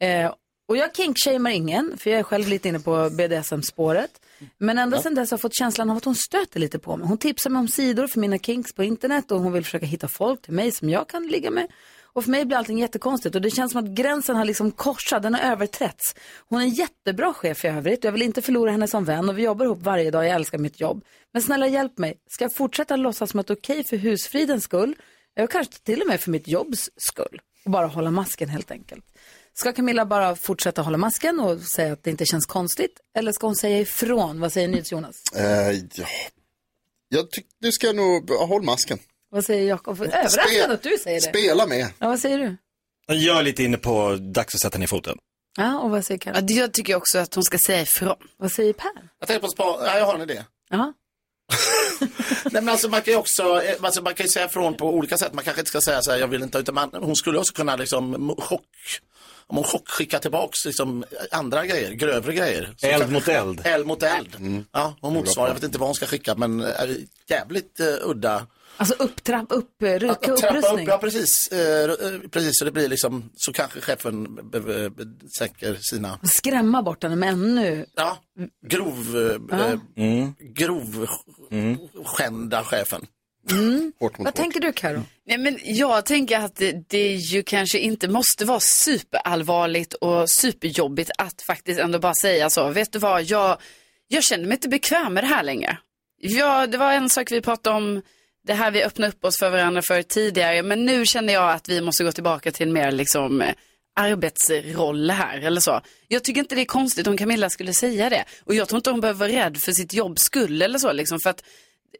Speaker 1: Eh, och jag kinkshamar ingen, för jag är själv lite inne på BDSM-spåret. Men ända
Speaker 2: Ja.
Speaker 1: sedan dess har jag fått känslan av att hon stöter lite på mig. Hon tipsar mig om sidor för mina kinks på internet och hon vill försöka hitta folk till mig som jag kan ligga med. Och för mig blir allting jättekonstigt och det känns som att gränsen har liksom korsat, den har överträtts. Hon är en jättebra chef i övrigt och jag vill inte förlora henne som vän och vi jobbar ihop varje dag, jag älskar mitt jobb. Men snälla hjälp mig, ska jag fortsätta låtsas som att det är okej för husfridens skull? Och kanske till och med för mitt jobbs skull. Och bara hålla masken helt enkelt. Ska Camilla bara fortsätta hålla masken och säga att det inte känns konstigt? Eller ska hon säga ifrån? Vad säger NyhetsJonas?
Speaker 3: Eh, ja. Jag tycker du ska nog, håll masken.
Speaker 1: Vad säger Jakob? Överraskad att du säger det.
Speaker 3: Spela med.
Speaker 1: Ja, vad säger du?
Speaker 8: Jag är lite inne på dags att sätta ner foten.
Speaker 1: Ja, och vad säger Karin?
Speaker 4: jag tycker också att hon ska säga ifrån.
Speaker 1: Vad säger Per?
Speaker 15: Jag tänkte på spa, ja, jag har en idé.
Speaker 1: Ja.
Speaker 15: Nej, men alltså, man kan ju också eh, alltså, man kan ju säga ifrån på olika sätt. Man kanske inte ska säga så här, jag vill inte, utan man, hon skulle också kunna liksom m- chock, om hon chockskickar tillbaks liksom andra grejer, grövre grejer. Så
Speaker 8: Eld
Speaker 15: kanske-
Speaker 8: mot eld.
Speaker 15: Eld mot eld.
Speaker 3: Mm.
Speaker 15: Ja, hon motsvarar, jag vet inte vad hon ska skicka, men eh, jävligt eh, udda.
Speaker 1: Alltså upptrapp, upp, eh, ru-
Speaker 15: Trappa upp,
Speaker 1: upprustning.
Speaker 15: ja precis. Eh, eh, precis, så det blir liksom, så kanske chefen be- be- be- sänker sina
Speaker 1: Skrämma bort henne med ännu.
Speaker 15: Ja. grov, eh,
Speaker 1: Ja.
Speaker 15: eh,
Speaker 8: Mm.
Speaker 15: grov skända chefen.
Speaker 1: Mm.
Speaker 3: Hårt
Speaker 1: Vad tänker du Karo?
Speaker 4: Nej, men jag tänker att det, det ju kanske inte måste vara superallvarligt och superjobbigt att faktiskt ändå bara säga så. Vet du vad, jag, jag känner mig inte bekväm med det här längre. Ja, det var en sak vi pratade om, det här vi öppnade upp oss för varandra för tidigare, men nu känner jag att vi måste gå tillbaka till en mer liksom eh, arbetsroll här eller så. Jag tycker inte det är konstigt om Camilla skulle säga det. Och jag tror inte hon behöver vara rädd för sitt jobbs skull eller så liksom, för att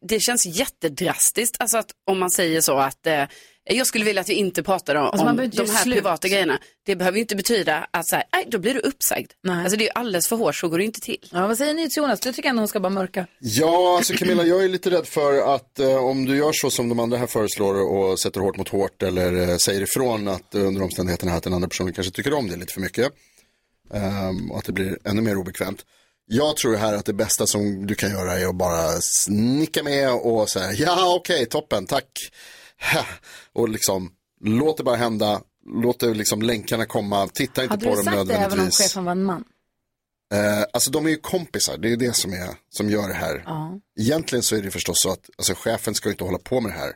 Speaker 4: det känns jättedrastiskt alltså att om man säger så att eh, Jag skulle vilja att vi inte pratar om,
Speaker 1: Alltså, man
Speaker 4: om
Speaker 1: behöver inte
Speaker 4: de
Speaker 1: göra
Speaker 4: här
Speaker 1: slut.
Speaker 4: privata grejerna. Det behöver ju inte betyda att så här, nej, då blir du uppsagd. Alltså det är ju alldeles för hårt, så går det ju inte till.
Speaker 1: Ja, vad säger ni till Jonas? Du tycker ändå hon ska bara mörka.
Speaker 3: Ja, alltså Camilla, jag är lite rädd för att eh, om du gör så som de andra här föreslår och sätter hårt mot hårt eller eh, säger ifrån att eh, under omständigheterna här att den andra personen kanske tycker om det lite för mycket ehm, och att det blir ännu mer obekvämt. Jag tror här att det bästa som du kan göra är att bara nicka med och säga ja, okej, toppen, tack. Ha. Och liksom låt det bara hända, låt det liksom länkarna komma, titta inte
Speaker 1: Hade
Speaker 3: på
Speaker 1: du
Speaker 3: dem
Speaker 1: sagt det även om
Speaker 3: nödvändigtvis.
Speaker 1: chefen var en man?
Speaker 3: Eh, alltså de är ju kompisar, det är ju det som, är, som gör det här.
Speaker 1: Ja.
Speaker 3: Egentligen så är det förstås så att alltså, chefen ska ju inte hålla på med det här.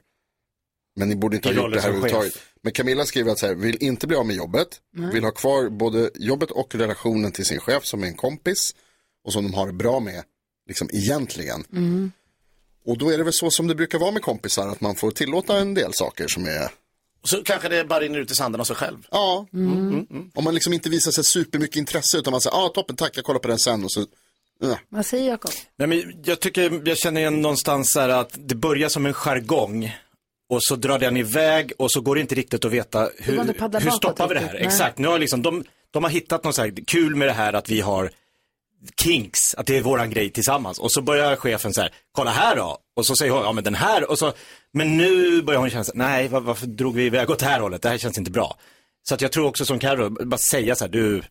Speaker 3: Men ni borde inte
Speaker 8: I
Speaker 3: ha gjort
Speaker 8: rollen
Speaker 3: det här
Speaker 8: som chef.
Speaker 3: överhuvudtaget. Men Camilla skriver att så här, vill inte bli av med jobbet,
Speaker 8: Nej.
Speaker 3: vill ha kvar både jobbet och relationen till sin chef som är en kompis och som de har det bra med, liksom egentligen.
Speaker 16: Mm.
Speaker 3: Och då är det väl så som det brukar vara med kompisar, att man får tillåta en del saker som är...
Speaker 15: Så kanske det bara rinner ut i sanden av sig själv. Mm,
Speaker 3: Ja. Om man liksom inte visar sig supermycket intresse utan man säger, ja ah, toppen, tack, jag kollar på den sen och så... Ja.
Speaker 1: Vad säger Jakob?
Speaker 8: Nej, men jag tycker, jag känner igen någonstans så här att det börjar som en jargong och så drar den iväg och så går det inte riktigt att veta hur,
Speaker 1: går inte att paddla
Speaker 8: hur
Speaker 1: bakåt
Speaker 8: stoppar vi det här?
Speaker 1: riktigt, nej.
Speaker 8: Exakt, nu har liksom, de, de har hittat något så här kul med det här att vi har kinks, att det är våran grej tillsammans. Och så börjar chefen så här, kolla här då. Och så säger hon, ja men den här, och så, men nu börjar hon känna så här, nej var, varför drog vi iväg åt det här hållet, det här känns inte bra. Så att jag tror också som Carro, bara säga så här, du,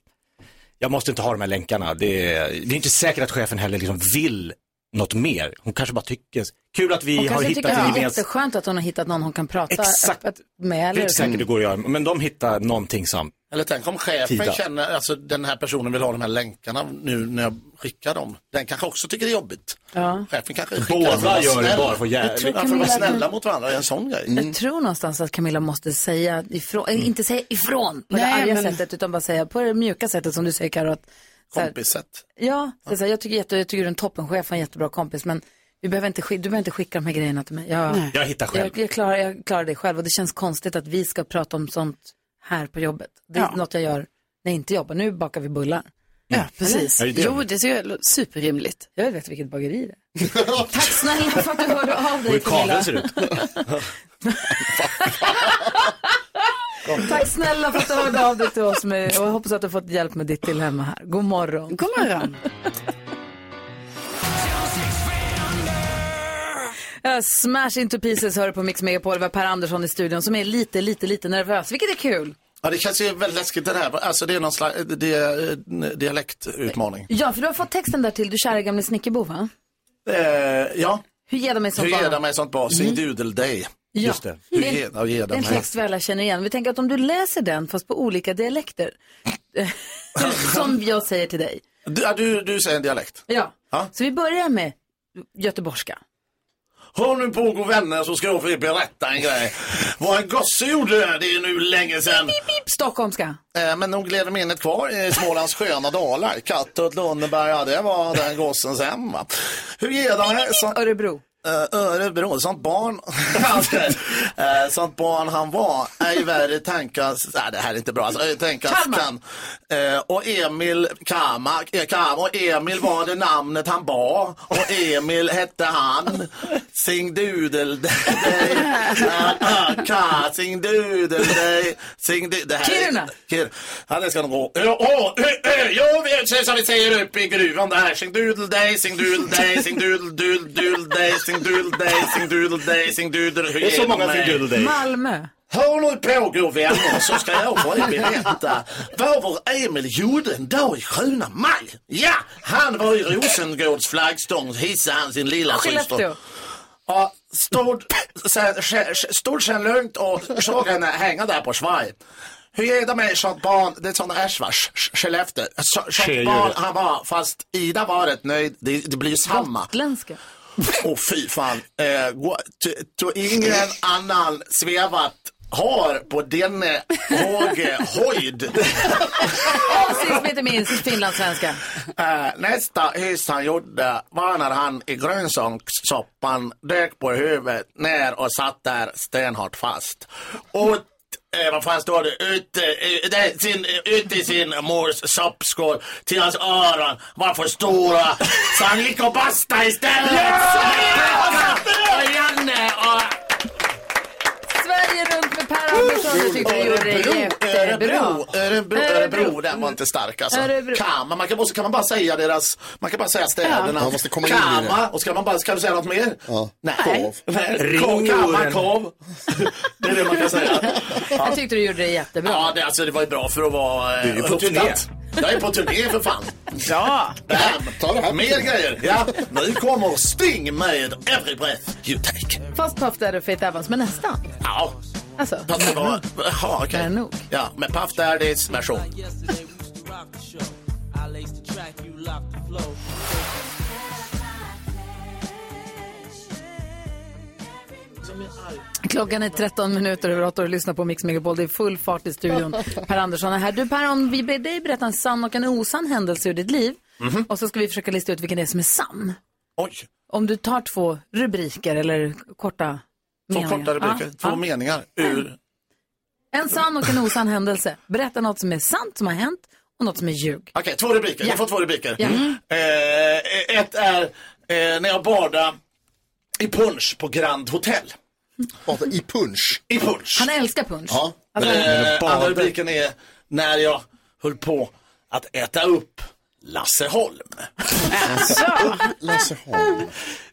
Speaker 8: jag måste inte ha de här länkarna. Det är, det är inte säkert att chefen heller liksom vill något mer. Hon kanske bara tycker, kul att vi
Speaker 1: hon
Speaker 8: har
Speaker 1: kanske tycker
Speaker 8: hittat
Speaker 1: att
Speaker 8: en
Speaker 1: det är
Speaker 8: gemensam...
Speaker 1: jätteskönt att hon har hittat någon hon kan prata
Speaker 8: Exakt.
Speaker 1: öppet med.
Speaker 8: Det är
Speaker 1: Eller? Mm.
Speaker 8: inte säkert det går att göra, men de hittar någonting som...
Speaker 15: Eller tänk om chefen
Speaker 8: Tida.
Speaker 15: känner, alltså den här personen vill ha de här länkarna nu när jag skickar dem. Den kanske också tycker det är jobbigt.
Speaker 1: Ja.
Speaker 15: Chefen kanske skickar
Speaker 8: Båda
Speaker 15: dem för att vara
Speaker 8: gör det
Speaker 15: snäll.
Speaker 8: bara för jävligt.
Speaker 15: Jag tror att för att vara snälla mot varandra är en sån grej.
Speaker 1: Jag tror någonstans att Camilla måste säga ifrån, eller inte säga ifrån på
Speaker 15: Nej,
Speaker 1: det arga
Speaker 15: men-
Speaker 1: sättet utan bara säga på det mjuka sättet som du säger Karo. att så här-
Speaker 15: Kompissätt.
Speaker 1: Ja, så så här, jag, tycker jätte, jag tycker du är en toppenchef och en jättebra kompis men vi behöver inte, skick- du behöver inte skicka de här grejerna till mig.
Speaker 8: Nej. Jag hittar själv.
Speaker 1: Jag, jag, klarar, jag klarar det själv och det känns konstigt att vi ska prata om sånt här på jobbet. Det är
Speaker 4: Ja.
Speaker 1: något jag gör när jag inte jobbar. Nu bakar vi bullar.
Speaker 4: Ja, precis.
Speaker 1: Ja, det är det.
Speaker 4: Jo, det är superrimligt.
Speaker 1: Jag vet vilket bageri det är. Tack snälla för att du hörde av
Speaker 16: Och hur
Speaker 1: dig
Speaker 16: kabeln
Speaker 1: Camilla.
Speaker 16: ser ut.
Speaker 1: Tack snälla för att du hörde av dig till oss med, och jag hoppas att du har fått hjälp med ditt till hemma här. God morgon.
Speaker 4: God morgon.
Speaker 1: Smash into pieces hör du på Mix Megapol. Vi har Per Andersson i studion som är lite, lite, lite nervös, vilket är kul.
Speaker 15: Ja, det känns ju väldigt läskigt det här. Alltså det är någon slags det är, en dialektutmaning.
Speaker 1: Ja, för du har fått texten där till Du kära gamle snickerbo, va?
Speaker 15: Eh, ja.
Speaker 1: Hur ger de mig sånt
Speaker 15: Hur
Speaker 1: barn? Mm.
Speaker 15: ger de mig sånt barn? Sing dudel dig.
Speaker 1: Ja.
Speaker 15: Just det. Hur ger de ger
Speaker 1: Det är
Speaker 15: de
Speaker 1: en
Speaker 15: mig?
Speaker 1: text vi alla känner igen. Vi tänker att om du läser den, fast på olika dialekter, som jag säger till dig.
Speaker 15: Du, ja, du, du säger en dialekt.
Speaker 1: Ja.
Speaker 15: Ja.
Speaker 1: Så vi börjar med göteborgska.
Speaker 15: Hör nu på god vänner så ska jag få berätta en grej. Vad en gosse gjorde, det är nu länge sedan.
Speaker 1: Stockholmska.
Speaker 15: Eh, men nog lever minnet kvar i Smålands sköna dalar. Katthult, Lönneberga, ja, det var den gossens hem. Va? Hur ger de här? Sånt...
Speaker 1: Örebro.
Speaker 15: Eh, Örebro, sånt barn. Eh, sånt barn han var är ju värre tänkas, nej det här är inte bra, alltså, eh, tänkas kan. Eh, och Emil Kama, eh, Kama, och Emil var det namnet han bar och Emil hette han. Sing dudel dig, Eh, eh, ka, sing dudel dig, sing du, det här är-
Speaker 16: Kiruna.
Speaker 15: Kiruna. Ja, det ska nog gå. Ja, ja, ja, ja, vi- så- som vi säger uppe i gruvan där. Sing doodle day, sing doodle day, sing doodle doodle doodle day, sing doodle day, sing doodle day, sing doodle. Hur
Speaker 8: Det är så
Speaker 15: ger
Speaker 8: många
Speaker 15: de mig?
Speaker 8: sing doodle day.
Speaker 1: Malmö.
Speaker 15: Hör nu på god vänner så ska jag få er berätta vad vår Emil gjorde en dag i sjöna maj. Ja, han var i Rosengårds flaggstång hissade han sin lilla syster.
Speaker 16: Skellefteå.
Speaker 15: Ja, stod sen, sk- sk- stod sen lugnt och såg henne hänga där på svaj. Hur ger det mig sånt barn, det är sån Ashwash, Skellefteå. Så-
Speaker 16: Sker
Speaker 15: Sånt
Speaker 16: ju
Speaker 15: barn
Speaker 16: det.
Speaker 15: han var, fast Ida var rätt nöjd. Det, det blir ju samma.
Speaker 1: Gotländska.
Speaker 15: Åh fy fan. Eh, gå- t- t- ingen annan svevat har på denne håge höjd.
Speaker 1: Och sist men inte minst, finlandssvenska.
Speaker 15: Eh, nästa hyss han gjorde var när han i grönsakssoppan dök på huvudet ner och satt där stenhårt fast. Och Eh, vad fan står det? Ute, eh, det- sin, ute i sin mors soppskål till hans öron var för stora. Så han gick och bastade istället.
Speaker 16: Ja!
Speaker 15: Och Janne och
Speaker 1: Sverige runt Jag tyckte du gjorde det jättebra.
Speaker 15: Örebro, Örebro, Örebro, den var inte stark alltså.
Speaker 1: Örebro.
Speaker 15: Kama, man kan, och så kan man bara säga deras, man kan bara säga städerna.
Speaker 3: Ja. Man måste komma in i det.
Speaker 15: Kama, och så kan man bara, ska du säga något mer?
Speaker 3: Ja.
Speaker 15: Nej. Nej.
Speaker 1: Ring
Speaker 15: Kama,
Speaker 1: Oren.
Speaker 15: Kav. Det är det man kan säga.
Speaker 1: Jag tyckte du gjorde det jättebra.
Speaker 15: Ja, det, alltså, det var ju bra för att vara...
Speaker 1: Du är ju på
Speaker 15: turné. Jag är på turné för fan. Ja. Ta det här. Mer grejer. Ja. Nu kommer Sting med Every Breath You Take.
Speaker 1: Fast Puff Daddy och Faith Evans, men nästan.
Speaker 15: Ja.
Speaker 1: Alltså.
Speaker 15: Fast det var... Jaha, okej. Ja, men Puff Daddys version.
Speaker 1: Klockan är 13 minuter över 8 och du lyssnar på Mix Megapol. Det är full fart i studion. Per Andersson är här. Du Per, om vi ber dig berätta en sann och en osann händelse ur ditt liv. Och så ska vi försöka lista ut vilken det är som är sann.
Speaker 15: Mhm. Oj.
Speaker 1: Om du tar två rubriker eller korta
Speaker 15: Två
Speaker 1: meningar.
Speaker 15: korta rubriker,
Speaker 1: Ja,
Speaker 15: två
Speaker 1: ja.
Speaker 15: meningar ur...
Speaker 1: En sann och en osann händelse. Berätta något som är sant som har hänt och något som är ljug.
Speaker 15: Okej, två rubriker.
Speaker 1: Ja.
Speaker 15: Jag får två rubriker.
Speaker 1: Ja.
Speaker 15: Mm. Eh, ett är eh, när jag badade i punch på Grand Hotel.
Speaker 3: I punch?
Speaker 15: I punch.
Speaker 1: Han älskar punch.
Speaker 15: Ja.
Speaker 1: Alltså,
Speaker 15: eh, andra rubriken är när jag höll på att äta upp Lasse Holm.
Speaker 3: Lasse Holm.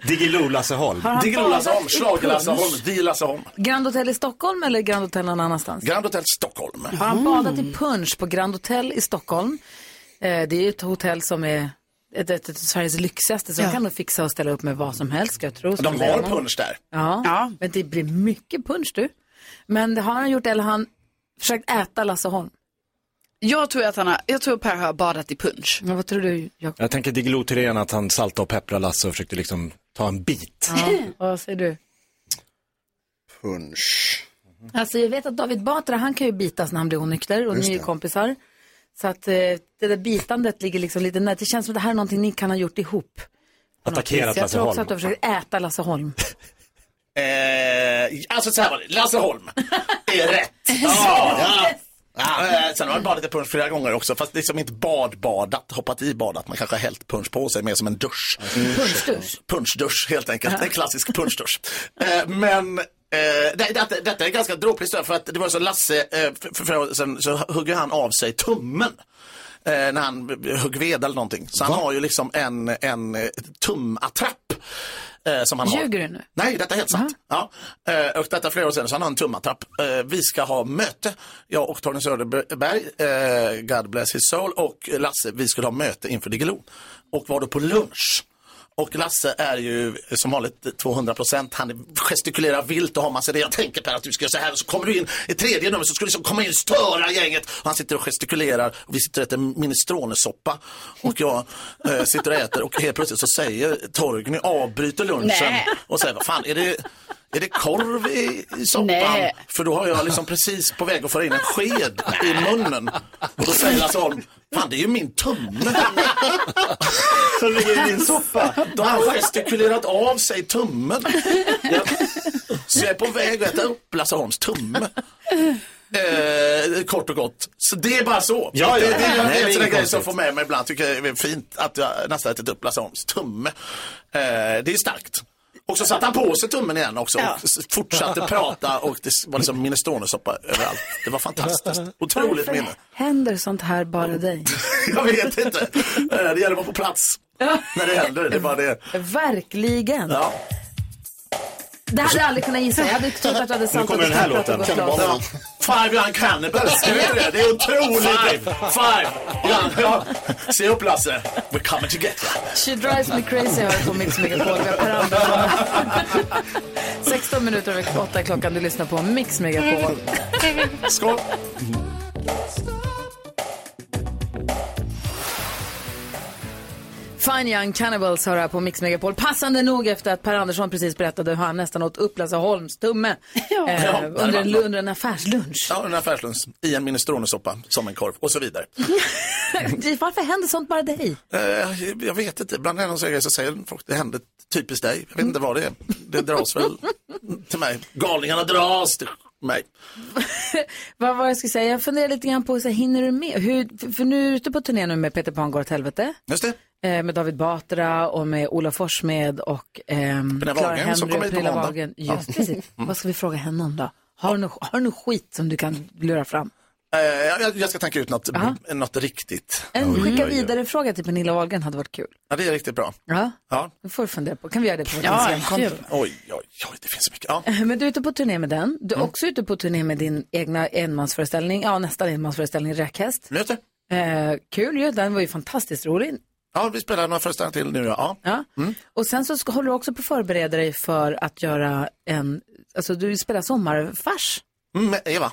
Speaker 8: Digilo Lasse Holm.
Speaker 1: Har han
Speaker 15: Diggiloo Lasse Holm,
Speaker 1: badat i
Speaker 15: Schlager Lasse
Speaker 1: punch?
Speaker 15: Holm, Di Lasse Holm.
Speaker 1: Grand Hotel i Stockholm eller Grand Hotel någon annanstans?
Speaker 15: Grand Hotel Stockholm. Eh,
Speaker 1: Har han badat i punch på Grand Hotel i Stockholm? Eh, det är ju ett hotell som är ett, ett, ett, Sveriges lyxigaste, så de kan nog fixa och ställa upp med vad som helst, ska jag tro.
Speaker 15: De har punch där.
Speaker 1: Ja. men det blir mycket punch du. Men det har han gjort, eller har han försökt äta Lasse Holm?
Speaker 17: Jag tror att han har, jag tror Per har badat i punch.
Speaker 1: Men vad tror du, Jakob?
Speaker 8: Jag tänker Diggiloo Thyrén att han saltade och pepprade Lasse och försökte liksom ta en bit.
Speaker 1: Ja, vad säger du?
Speaker 3: Punch.
Speaker 1: Alltså jag vet att David Batra, han kan ju bitas när han blir onykter och
Speaker 3: Just
Speaker 1: ni är ju
Speaker 3: det.
Speaker 1: kompisar. Så att eh, det där bitandet ligger liksom lite nära. Det känns som att det här är någonting ni kan ha gjort ihop. på något
Speaker 8: Attackerat
Speaker 1: vis. Jag
Speaker 8: Lasse
Speaker 1: tror också
Speaker 8: Holm.
Speaker 1: att du har försökt äta Lasse Holm.
Speaker 15: Eh, alltså så här var det, Lasse Holm är rätt. Ja, ja. Ja, eh, sen har jag badat i punch flera gånger också, fast liksom inte badbadat, hoppat i badat. Man kanske har hällt punch på sig mer som en dusch.
Speaker 1: Punschdusch.
Speaker 15: Punschdusch helt enkelt, en klassisk punschdusch. Eh, men eh, det, det, detta är ganska dråpligt stöd för att det var så Lasse, eh, för, för, för, sen så hugger han av sig tummen. Eh, när han högg ved eller någonting. Så han har ju liksom en, en eh, tumattrapp. Eh, som han har.
Speaker 1: Ljuger du nu?
Speaker 15: Nej, detta är helt sant. Ja. Eh, och detta är flera år sedan, så han har en tummatrapp. Eh, vi ska ha möte, jag och Torgny Söderberg, eh, God bless his soul, och Lasse, vi skulle ha möte inför Diggiloo. Och var då på lunch. Och Lasse är ju som vanligt 200 procent. Han gestikulerar vilt och har massa det. Jag tänker Per att du ska göra så här och så kommer du in i tredje numret så ska du liksom komma in och störa gänget. Och han sitter och gestikulerar och vi sitter och äter minestronesoppa. Och jag eh, sitter och äter och helt plötsligt så säger Torgny, avbryter lunchen
Speaker 17: Nej.
Speaker 15: och säger vad fan är det, är det korv i, i soppan?
Speaker 17: Nej.
Speaker 15: För då har jag liksom precis på väg att föra in en sked i munnen. Och då säger Lasse Holm, fan det är ju min tumme. Som ligger i din Alltså. soppa. Då har han gestikulerat av sig tummen. Ja. Så jag är på väg att äta upp Lasse Holms tumme. Eh, kort och gott. Så det är bara så.
Speaker 8: Ja,
Speaker 15: Det,
Speaker 8: ja.
Speaker 15: det, det,
Speaker 8: Nej, det är
Speaker 15: är en sån
Speaker 8: inget
Speaker 15: där grej som
Speaker 8: konstigt.
Speaker 15: får med mig ibland. Tycker jag är fint att jag nästan ätit upp Lasse Holms tumme. Eh, det är starkt. Och så satte han på sig tummen igen också
Speaker 17: Ja.
Speaker 15: och s- fortsatte prata och det s- var liksom minestronesoppa överallt. Det var fantastiskt. Otroligt
Speaker 1: Varför
Speaker 15: minne.
Speaker 1: händer sånt här bara dig?
Speaker 15: Jag vet inte. Eh, Det gäller att vara på plats när det händer. Det är bara det.
Speaker 1: Verkligen.
Speaker 15: Ja.
Speaker 1: Det hade jag aldrig kunnat gissa. Jag hade trott att du hade
Speaker 15: Nu
Speaker 1: sant
Speaker 15: kommer den här låten. Ja. Five Young Cannibals, ska vi göra det? Det är otroligt. Five! Five. Ja, ja. Se upp Lasse, we're coming to get you.
Speaker 1: She drives me crazy hör på Mix Megapol. Vi har Per Andersson. 16 minuter över 8 klockan. Du lyssnar på Mix Megapol.
Speaker 15: Skål!
Speaker 1: Fine Young Cannibals hör här på Mix Megapol. Passande nog efter att Per Andersson precis berättade hur han nästan åt upp Lasse Holms tumme eh,
Speaker 15: Ja, det
Speaker 1: under,
Speaker 15: var
Speaker 1: en,
Speaker 15: bra.
Speaker 1: under en affärslunch.
Speaker 15: Ja, en affärslunch i en minestronesoppa som en korv och så vidare.
Speaker 1: Varför händer sånt bara dig?
Speaker 15: Eh, jag vet inte, ibland när någon säger grejer så säger folk det hände typiskt dig. Jag vet inte vad det är. Det dras väl till mig. Galningarna dras till mig.
Speaker 1: Vad var jag skulle säga? Jag funderar lite grann på, så här, hinner du med? Hur, för- för nu är du ute på turné nu med Peter Pan går åt helvete.
Speaker 15: Just det.
Speaker 1: Eh, med David Batra och med Ola Forssmed och ehm,
Speaker 15: Pernilla
Speaker 1: Clara
Speaker 15: Wahlgren
Speaker 1: Henry
Speaker 15: som
Speaker 1: och
Speaker 15: kommer hit på
Speaker 1: Pernilla
Speaker 15: måndag.
Speaker 1: Wahlgren.
Speaker 15: Ja. Mm.
Speaker 1: Just precis. Vad ska vi fråga henne om då? Har du något, har du något skit som du kan lura fram?
Speaker 15: Eh, jag, jag ska tänka ut något,
Speaker 1: Ja.
Speaker 15: något riktigt.
Speaker 1: En
Speaker 15: Oj, oj,
Speaker 1: skicka
Speaker 15: oj.
Speaker 1: vidare-fråga till Pernilla Wahlgren hade varit kul.
Speaker 15: Ja, det är riktigt bra.
Speaker 1: Ja,
Speaker 15: Ja.
Speaker 1: det får du fundera på. Kan vi göra det på vårt
Speaker 15: Ja,
Speaker 1: Instagramkonto?
Speaker 15: kul. Oj, oj, oj, det finns så mycket. Ja.
Speaker 1: Men du är ute på turné med den. Du är
Speaker 15: Mm.
Speaker 1: också ute på turné med din egna enmansföreställning, ja nästan enmansföreställning, Räkhäst.
Speaker 15: Just det.
Speaker 1: Eh, kul ju, den var ju fantastiskt rolig.
Speaker 15: Ja, vi spelar några föreställningar till nu. Ja.
Speaker 1: Ja.
Speaker 15: Mm.
Speaker 1: Och sen så ska, håller du också på att förbereda dig för att göra en, alltså du spelar sommarfars.
Speaker 15: Mm, med Eva.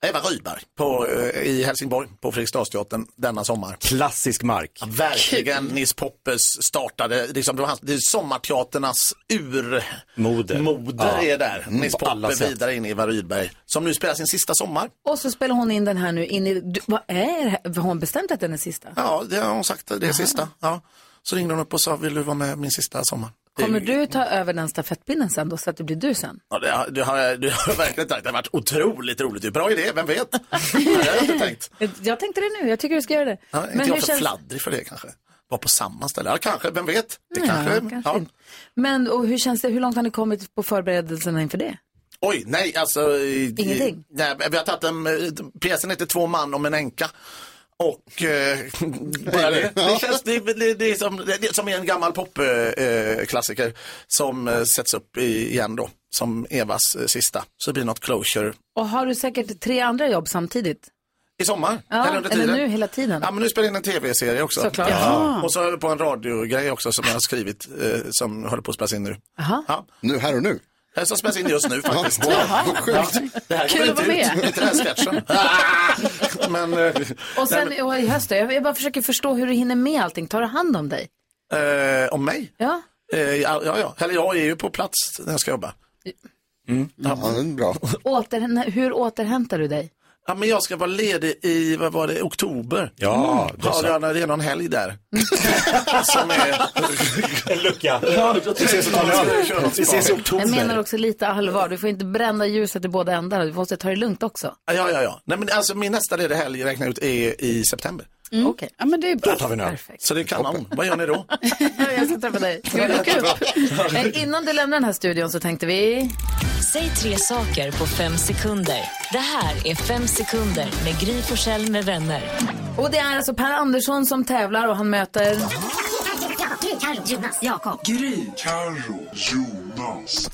Speaker 15: Eva Rydberg på, eh, i Helsingborg på Fredriksdalsteatern denna sommar.
Speaker 8: Klassisk mark.
Speaker 15: Ja, verkligen. Nils Poppes startade, liksom, det, var hans, det är sommarteaternas urmoder
Speaker 8: Moder. Ja.
Speaker 15: är där.
Speaker 8: Mm,
Speaker 15: Nils
Speaker 8: på alla
Speaker 15: Poppe
Speaker 8: sätt.
Speaker 15: vidare in i Eva Rydberg som nu spelar sin sista sommar.
Speaker 1: Och så spelar hon in den här nu in i, du, vad är det här? Har hon bestämt att den är sista?
Speaker 15: Ja, det har hon sagt, det är sista. Ja. Så ringde hon upp och sa, vill du vara med min sista sommar? Det är
Speaker 1: Kommer du ta över den stafettpinnen sen då, så att det blir du sen?
Speaker 15: Ja, det, har, det, har, det har verkligen sagt. Det har varit otroligt roligt. Bra idé, vem vet? Det har jag inte tänkt.
Speaker 1: Jag tänkte det nu, jag tycker du ska göra det.
Speaker 15: Ja, inte jag för fladdrig för det kanske? Var på samma ställe? Ja, kanske, vem vet? Det
Speaker 1: Ja,
Speaker 15: kanske,
Speaker 1: kanske
Speaker 15: ja.
Speaker 1: inte. Men och hur känns det, hur långt har ni kommit på förberedelserna inför det?
Speaker 15: Oj, nej, alltså.
Speaker 1: Ingenting?
Speaker 15: Nej, vi har tagit en, eh, pjäsen heter Två man om en änka. Och eh, bara det, det känns, det, det, det, är som, det är som en gammal popklassiker eh, klassiker som eh, sätts upp i- igen då, som Evas eh, sista. Så det blir något closure
Speaker 1: Och har du säkert tre andra jobb samtidigt?
Speaker 15: i sommar.
Speaker 1: Ja,
Speaker 15: under
Speaker 1: eller
Speaker 15: tiden.
Speaker 1: nu hela tiden?
Speaker 15: Ja, men nu spelar jag in en tv-serie också.
Speaker 1: Såklart.
Speaker 15: Ja.
Speaker 1: Jaha.
Speaker 15: Och så håller jag på en radiogrej också som jag har skrivit, eh, som håller på att spelas in nu.
Speaker 1: Aha.
Speaker 15: Ja. Nu, här och nu? Som spelas in just nu faktiskt.
Speaker 1: Jaha. Vad
Speaker 15: Ja,
Speaker 1: sjukt.
Speaker 15: det här
Speaker 1: Kul
Speaker 15: kommer
Speaker 1: att vara
Speaker 15: inte
Speaker 1: med.
Speaker 15: ut. Inte den här sketchen. Ah! men, eh,
Speaker 1: Och sen
Speaker 15: nej,
Speaker 1: och i höst då? Jag jag bara försöker förstå hur du hinner med allting. Tar du hand om dig?
Speaker 15: men, eh, om mig?
Speaker 1: Ja.
Speaker 15: Eh, ja, ja, ja. Eller jag är ju på plats när jag ska jobba. Mm. Ja, det är bra.
Speaker 1: Åter, hur återhämtar du dig?
Speaker 15: Ja, men jag ska vara ledig i, vad var det, oktober.
Speaker 8: Ja,
Speaker 15: mm.
Speaker 8: det är
Speaker 15: ja,
Speaker 8: sant.
Speaker 15: det, är, det är någon helg där. som är... En lucka.
Speaker 8: Vi ses i oktober. Vi ses i
Speaker 1: Jag menar också lite allvar. Du får inte bränna ljuset i båda ändarna. Du måste ta det lugnt också.
Speaker 15: Ja, ja, ja, ja. Nej, men alltså min nästa lediga helg räknar jag ut är i september.
Speaker 1: Mm. Okej.
Speaker 17: Ja, men det är bra.
Speaker 15: tar vi en öl. Så det är kanon. Vad gör ni då?
Speaker 1: Jag ska träffa dig. Ska vi boka upp? Eh, Innan du lämnar den här studion så tänkte vi...
Speaker 2: Säg tre saker på fem sekunder. Det här är Fem sekunder med Gry Forssell med vänner.
Speaker 1: Och det är alltså Per Andersson som tävlar och han möter...
Speaker 16: Gry, Carro, Jonas, Jakob. Gry, Carro, Jonas.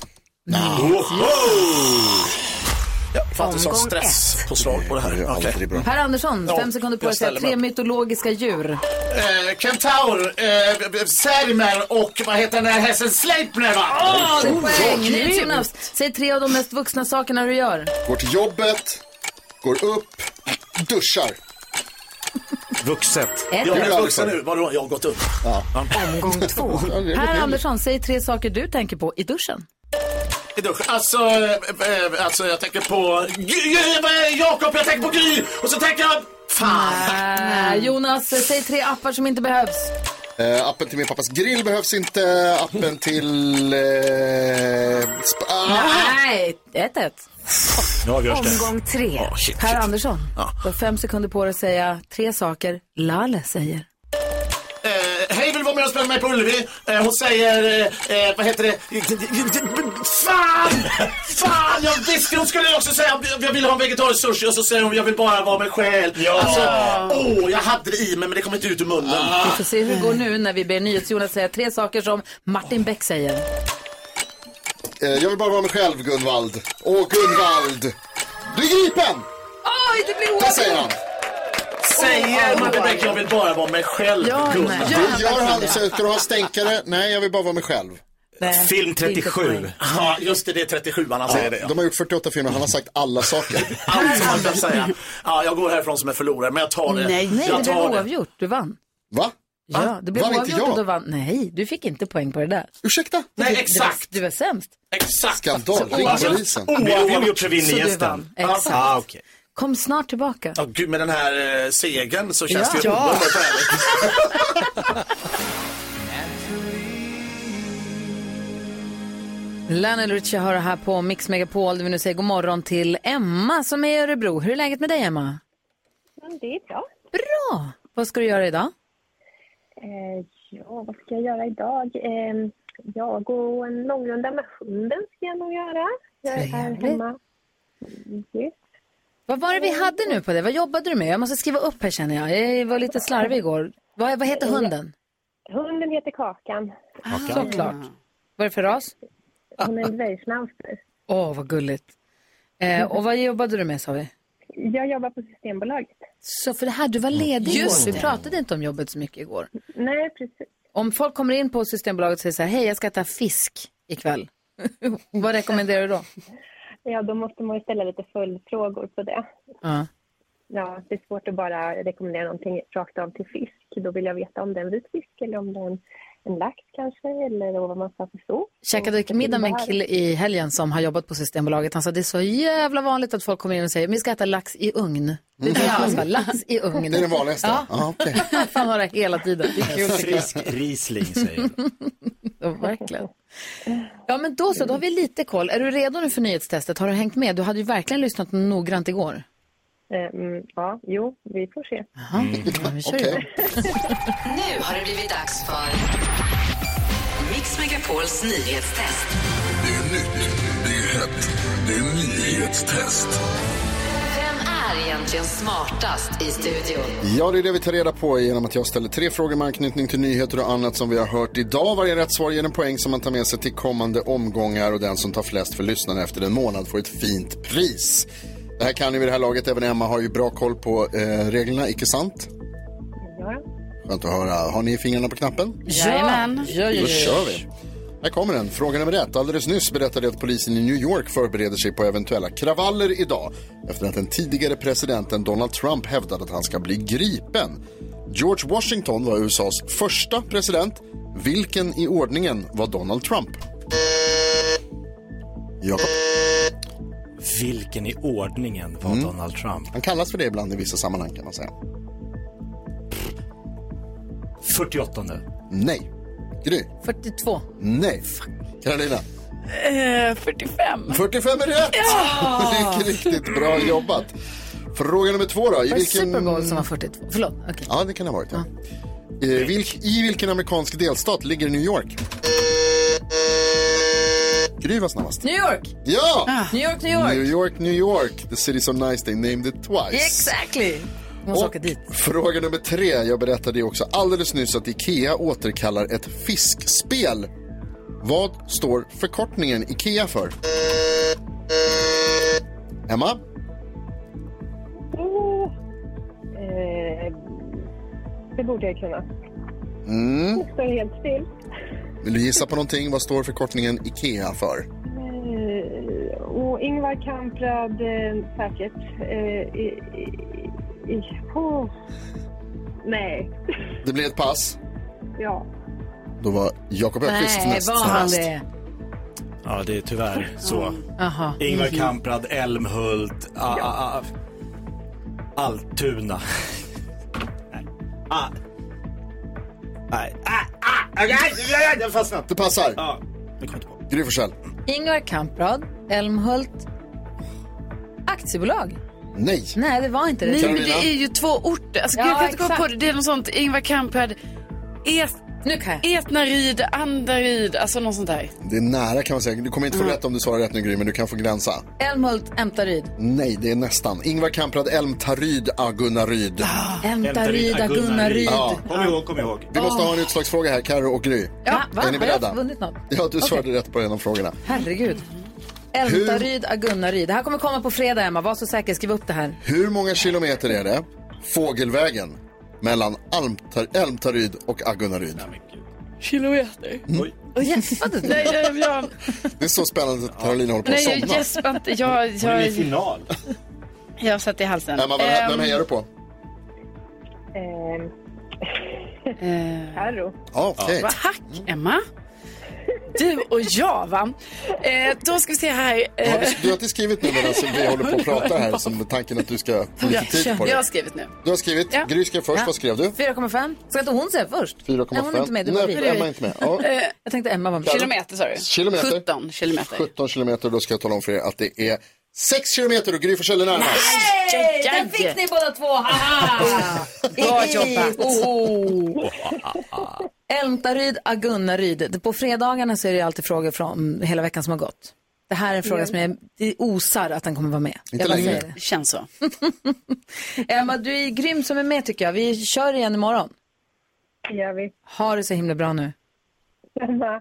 Speaker 15: Jag fattar sån
Speaker 1: Omgång
Speaker 15: stress på slag på det här. Okej.
Speaker 1: Per Andersson,
Speaker 15: Ja,
Speaker 1: fem sekunder på
Speaker 15: jag
Speaker 1: dig att säga
Speaker 15: ställer mig
Speaker 1: tre
Speaker 15: upp.
Speaker 1: mytologiska djur.
Speaker 15: Eh, Kentaur, eh, Särmer och vad heter den här hästen Sleipner va?
Speaker 1: Åh, det är typ- poäng!
Speaker 15: Grymt.
Speaker 1: Jonas, Säg tre av de mest vuxna sakerna du gör.
Speaker 3: Går till jobbet, går upp, duschar.
Speaker 8: Vuxet.
Speaker 1: Ett.
Speaker 15: Jag är vuxen nu, vadå? Jag har gått upp.
Speaker 1: Omgång två. Per Andersson, säg tre saker du tänker på i duschen.
Speaker 15: I duschen. Alltså, eh, eh, alltså jag tänker på Gry, eh, Jakob, jag tänker på Gry och så tänker jag Fan!
Speaker 1: Eh, Jonas, säg tre appar som inte behövs.
Speaker 3: Eh, appen till min pappas grill behövs inte. Appen till... Eh, sp- ah!
Speaker 1: Nej, ett, ett.
Speaker 8: Nu avgörs det.
Speaker 1: Omgång tre.
Speaker 8: Oh, shit,
Speaker 1: per
Speaker 8: shit.
Speaker 1: Andersson,
Speaker 8: Ja.
Speaker 1: du har fem sekunder på dig att säga tre saker Lale säger.
Speaker 15: Eh, hej, vill du vara med och spela med på Ullevi? Eh, hon säger, eh, eh, vad heter det? Fan! Fan! Jag visste hon skulle också säga att jag vill ha en vegetarisk sushi och så säger hon jag vill bara vara mig själv. Ja. Alltså, åh, jag hade det i mig men det kom inte ut ur munnen.
Speaker 1: Vi får se hur det går nu när vi ber NyhetsJonas säga tre saker som Martin Beck säger.
Speaker 3: Eh, jag vill bara vara mig själv, Gunvald. Åh, Gunvald! Du är gripen!
Speaker 1: Oj, det blir
Speaker 3: Vad säger han?
Speaker 15: Säger Martin Beck jag vill bara vara mig själv.
Speaker 1: Ja,
Speaker 15: Gunnar.
Speaker 1: nej.
Speaker 3: Då gör han, så ska du ha stänkare? Nej, jag vill bara vara mig själv.
Speaker 1: Nej, inte poäng.
Speaker 15: Ja, just det, det är 37 han säger det. ja.
Speaker 3: De har gjort 48 filmer, han har sagt alla saker.
Speaker 15: Allt som man kan säga. Ja, jag går härifrån som en förlorare men jag tar det.
Speaker 1: Nej, nej, det
Speaker 15: jag
Speaker 1: blev
Speaker 15: tar det.
Speaker 1: oavgjort. Du vann.
Speaker 3: Va?
Speaker 1: Ja, det blev
Speaker 15: Vann inte
Speaker 1: oavgjort och
Speaker 15: jag?
Speaker 1: du vann. Nej, du fick inte poäng på det där.
Speaker 3: Ursäkta?
Speaker 15: Nej,
Speaker 1: Du-
Speaker 15: exakt.
Speaker 1: Du var, du var sämst.
Speaker 15: Exakt.
Speaker 3: Skandal, ring polisen.
Speaker 8: Det är oavgjort så vinner
Speaker 1: Så du
Speaker 8: gästen.
Speaker 1: vann. Exakt.
Speaker 8: Ah, okej.
Speaker 1: Kom snart tillbaka.
Speaker 15: Ja, gud, med den här eh, segern så känns
Speaker 1: Ja.
Speaker 15: det ju
Speaker 1: Ja.
Speaker 15: oerhört härligt.
Speaker 1: Lionel Richie har det här på Mix Megapol där vi nu säger god morgon till Emma som är i Örebro. Hur är läget med dig Emma?
Speaker 9: Det är bra.
Speaker 1: Bra! Vad ska du göra idag?
Speaker 9: Eh, ja, vad ska jag göra idag? Eh, jag går en långrunda med hunden ska jag nog göra. Jag är
Speaker 1: Trevligt.
Speaker 9: hemma Mm,
Speaker 1: Vad var det vi hade nu på det? Vad jobbade du med? Jag måste skriva upp här känner jag. Jag var lite slarvig igår. Vad, vad heter hunden?
Speaker 9: Hunden heter Kakan. Eh,
Speaker 1: Kakan. Ah, Såklart. Vad är det för ras?
Speaker 9: Hon är en dvärgschnauzer.
Speaker 1: Åh, vad gulligt. Eh, och vad jobbade du med sa vi?
Speaker 9: Jag jobbar på Systembolaget.
Speaker 1: Så för det här, du var ledig
Speaker 9: Just
Speaker 1: igår. Vi
Speaker 9: det.
Speaker 1: pratade inte om jobbet så mycket igår.
Speaker 9: Nej, precis.
Speaker 1: Om folk kommer in på Systembolaget och säger så här, hej jag ska äta fisk ikväll. vad rekommenderar du då?
Speaker 9: Ja, då måste man ju ställa lite följdfrågor på det.
Speaker 1: Ja.
Speaker 9: Ja, det är svårt att bara rekommendera någonting rakt av till fisk. Då vill jag veta om det är en vit fisk eller om det är en, en lax kanske eller vad man ska för så.
Speaker 1: Käkade middag med en kille i helgen som har jobbat på Systembolaget. Han sa det är så jävla vanligt att folk kommer in och säger vi ska äta lax i ugn. Det är
Speaker 3: Mm.
Speaker 1: det som är lax i ugn.
Speaker 3: Det är den vanligaste.
Speaker 1: Ja.
Speaker 3: Ja, okej.
Speaker 1: Fan har det hela tiden. Det är kul tycker
Speaker 8: Frisk Riesling säger jag.
Speaker 1: jag. Verkligen. Ja men då så, då har vi lite koll. Är du redo nu för nyhetstestet? Har du hängt med? Du hade ju verkligen lyssnat noggrant igår.
Speaker 9: Mm, ja, jo, vi får se.
Speaker 3: Mm.
Speaker 1: Ja, vi kör igång.
Speaker 18: Nu har det blivit dags för Mix Megapols nyhetstest. Det är nytt, det är hett, det är nyhetstest.
Speaker 19: Vem är egentligen smartast i studion?
Speaker 3: Ja, det är det vi tar reda på genom att jag ställer tre frågor med anknytning till nyheter och annat som vi har hört idag. Varje rätt svar ger en poäng som man tar med sig till kommande omgångar och den som tar flest för lyssnarna efter en månad får ett fint pris. Det här kan ni vid det här laget, även Emma har ju bra koll på eh, reglerna, icke sant?
Speaker 9: Ja.
Speaker 3: Skönt att höra. Har ni fingrarna på knappen?
Speaker 1: Jajamän. Ja, ja, ja, ja.
Speaker 3: Då kör vi. Här kommer den. Fråga nummer ett. Alldeles nyss berättade jag att polisen i New York förbereder sig på eventuella kravaller idag efter att den tidigare presidenten Donald Trump hävdade att han ska bli gripen. George Washington var USAs första president. Vilken i ordningen var Donald Trump? Jakob.
Speaker 8: Vilken i ordningen var Donald Trump?
Speaker 3: Mm. Han kallas för det ibland i vissa sammanhang kan man säga.
Speaker 8: 48.
Speaker 3: Nej. Gry.
Speaker 1: 42.
Speaker 3: Nej. Karolina.
Speaker 4: Eh, 45.
Speaker 3: 45 är rätt!
Speaker 4: Ja!
Speaker 3: Mycket riktigt bra jobbat. Fråga nummer två då. I
Speaker 1: Var det Super Bowl som var 42? Förlåt. okej.
Speaker 3: Ja, det kan det ha varit. Ja. I, vilk, I vilken amerikansk delstat ligger New York? Gry var snabbast.
Speaker 1: New York!
Speaker 3: Ja!
Speaker 1: Ah, New York, New York.
Speaker 3: New York, New York. The city so nice they named it twice.
Speaker 1: Exactly. Måste åka dit.
Speaker 3: Fråga nummer tre. Jag berättade ju också alldeles nyss att Ikea återkallar ett fiskspel. Vad står förkortningen Ikea för? Emma?
Speaker 9: Oh, eh, Ehm, det borde jag kunna.
Speaker 3: Mm.
Speaker 9: Jag står helt still.
Speaker 3: Vill du gissa på någonting? Vad står förkortningen Ikea för?
Speaker 9: Eh, och Ingvar Kamprad eh, säkert. Eh, i, i, i, oh. Nej,
Speaker 3: Det blir ett pass.
Speaker 9: ja.
Speaker 3: Då var Jakob Öqvist
Speaker 1: Nej,
Speaker 3: näst
Speaker 1: var han
Speaker 3: snabbast.
Speaker 1: det?
Speaker 8: Ja, det är tyvärr så.
Speaker 1: Aha.
Speaker 8: Ingvar
Speaker 1: Mhm.
Speaker 8: Kamprad, Älmhult, a, a, a, Alttuna. Nej. Ah. Nej. Ah, ah, ah, ah, ah, den fastnade.
Speaker 3: Det passar.
Speaker 8: Ja.
Speaker 3: Gry Forssell.
Speaker 1: Ingvar Kamprad, Elmhult, aktiebolag.
Speaker 3: Nej.
Speaker 1: Nej, det var inte det.
Speaker 4: Nej, men det är ju två orter. Alltså, gud, jag kan inte komma på det. Det är något sånt Ingvar Kamprad, Et...
Speaker 1: nu kan
Speaker 4: Etnaryd, Andaryd, alltså något sånt där.
Speaker 3: Det är nära kan man säga. Du kommer inte få
Speaker 4: Mm.
Speaker 3: rätt om du svarar rätt nu Gry, men du kan få gränsa.
Speaker 1: Älmhult, Ämtaryd.
Speaker 3: Nej, det är nästan. Ingvar Kamprad, Elmtaryd, Agunnaryd.
Speaker 1: Ämtaryd, Agunnaryd.
Speaker 3: Ja.
Speaker 8: Kom ihåg, kom ihåg.
Speaker 3: Vi måste ha en utslagsfråga här, Karo och Gry.
Speaker 1: Ja, va?
Speaker 3: Är ni
Speaker 1: Har
Speaker 3: beredda?
Speaker 1: jag vunnit något?
Speaker 3: Ja, du
Speaker 1: Okej.
Speaker 3: svarade rätt på en av frågorna.
Speaker 1: Herregud. Älmtaryd, Agunnaryd. Det här kommer komma på fredag, Emma. Var så säker. Skriv upp det här.
Speaker 3: Hur många kilometer är det fågelvägen mellan Almtar- Älmtaryd och Agunnaryd?
Speaker 4: Kilometer.
Speaker 3: Mm.
Speaker 4: Och gäspade du? Nej, jag, jag,
Speaker 3: Det är så spännande att Karolina håller på att
Speaker 4: nej, jag
Speaker 3: somna.
Speaker 4: gäspade inte. Jag, jag, Jag satt i halsen.
Speaker 3: Emma, vem, vem
Speaker 4: Ehm,
Speaker 3: hejar du på?
Speaker 9: Eh, Carro.
Speaker 3: Okej.
Speaker 4: Eh. Vad hack, Emma. Du och jag, va? Eh, då ska vi se här.
Speaker 3: Har
Speaker 4: Eh,
Speaker 3: du, du har inte skrivit nu medan vi håller på att prata här som med tanken att du ska få lite tid på
Speaker 4: jag har
Speaker 3: det.
Speaker 4: skrivit nu.
Speaker 3: Du har skrivit,
Speaker 4: Ja.
Speaker 3: Gry skrev först,
Speaker 1: Ja.
Speaker 3: vad skrev du?
Speaker 1: 4,5. Ska inte hon säga först? Nej, hon är inte med. Det var
Speaker 3: 4,5.
Speaker 1: vi.
Speaker 3: Nej, Emma är inte med. Ja.
Speaker 4: Eh,
Speaker 1: Jag tänkte Emma var med.
Speaker 4: Kilometer sa du?
Speaker 3: Kilometer.
Speaker 4: 17 kilometer.
Speaker 3: 17 kilometer, då ska jag tala om för er att det är 6 kilometer och Gry Forssell är närmast.
Speaker 1: Hej! Där fick ni båda två! Haha!
Speaker 18: Bra jobbat.
Speaker 1: Oh. Älmtaryd, Agunnaryd. På fredagarna så är det alltid frågor från hela veckan som har gått. Det här är en fråga som jag, det osar att den kommer vara med.
Speaker 4: Inte
Speaker 1: jag bara
Speaker 4: längre.
Speaker 1: säger det.
Speaker 4: Känns så.
Speaker 1: Emma, du är grym som är med tycker jag. Vi kör igen imorgon.
Speaker 20: Det gör vi.
Speaker 1: Ha det så himla bra nu.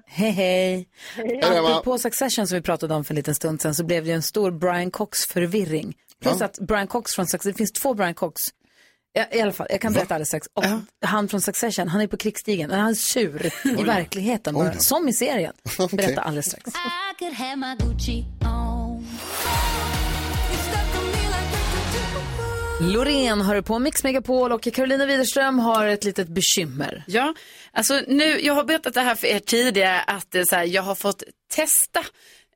Speaker 1: Hej hej.
Speaker 20: Hej.
Speaker 1: Apropå Succession som vi pratade om för en liten stund sedan så blev det ju en stor Brian Cox-förvirring. Plus att Brian Cox från Succession, det finns två Brian Cox. Ja, I alla fall, jag kan berätta alldeles strax. Och han från Succession, han är på krigsstigen. Han är sur i
Speaker 16: Oj.
Speaker 1: verkligheten
Speaker 16: Oj
Speaker 1: bara,
Speaker 16: då.
Speaker 1: som i serien. Berätta alldeles strax.
Speaker 16: I could have my Gucci on.
Speaker 1: Loreen har du på Mix Megapol och Carolina Widerström har ett litet bekymmer.
Speaker 4: Ja, alltså nu, jag har berättat det här för er tidigare att det är så här, jag har fått testa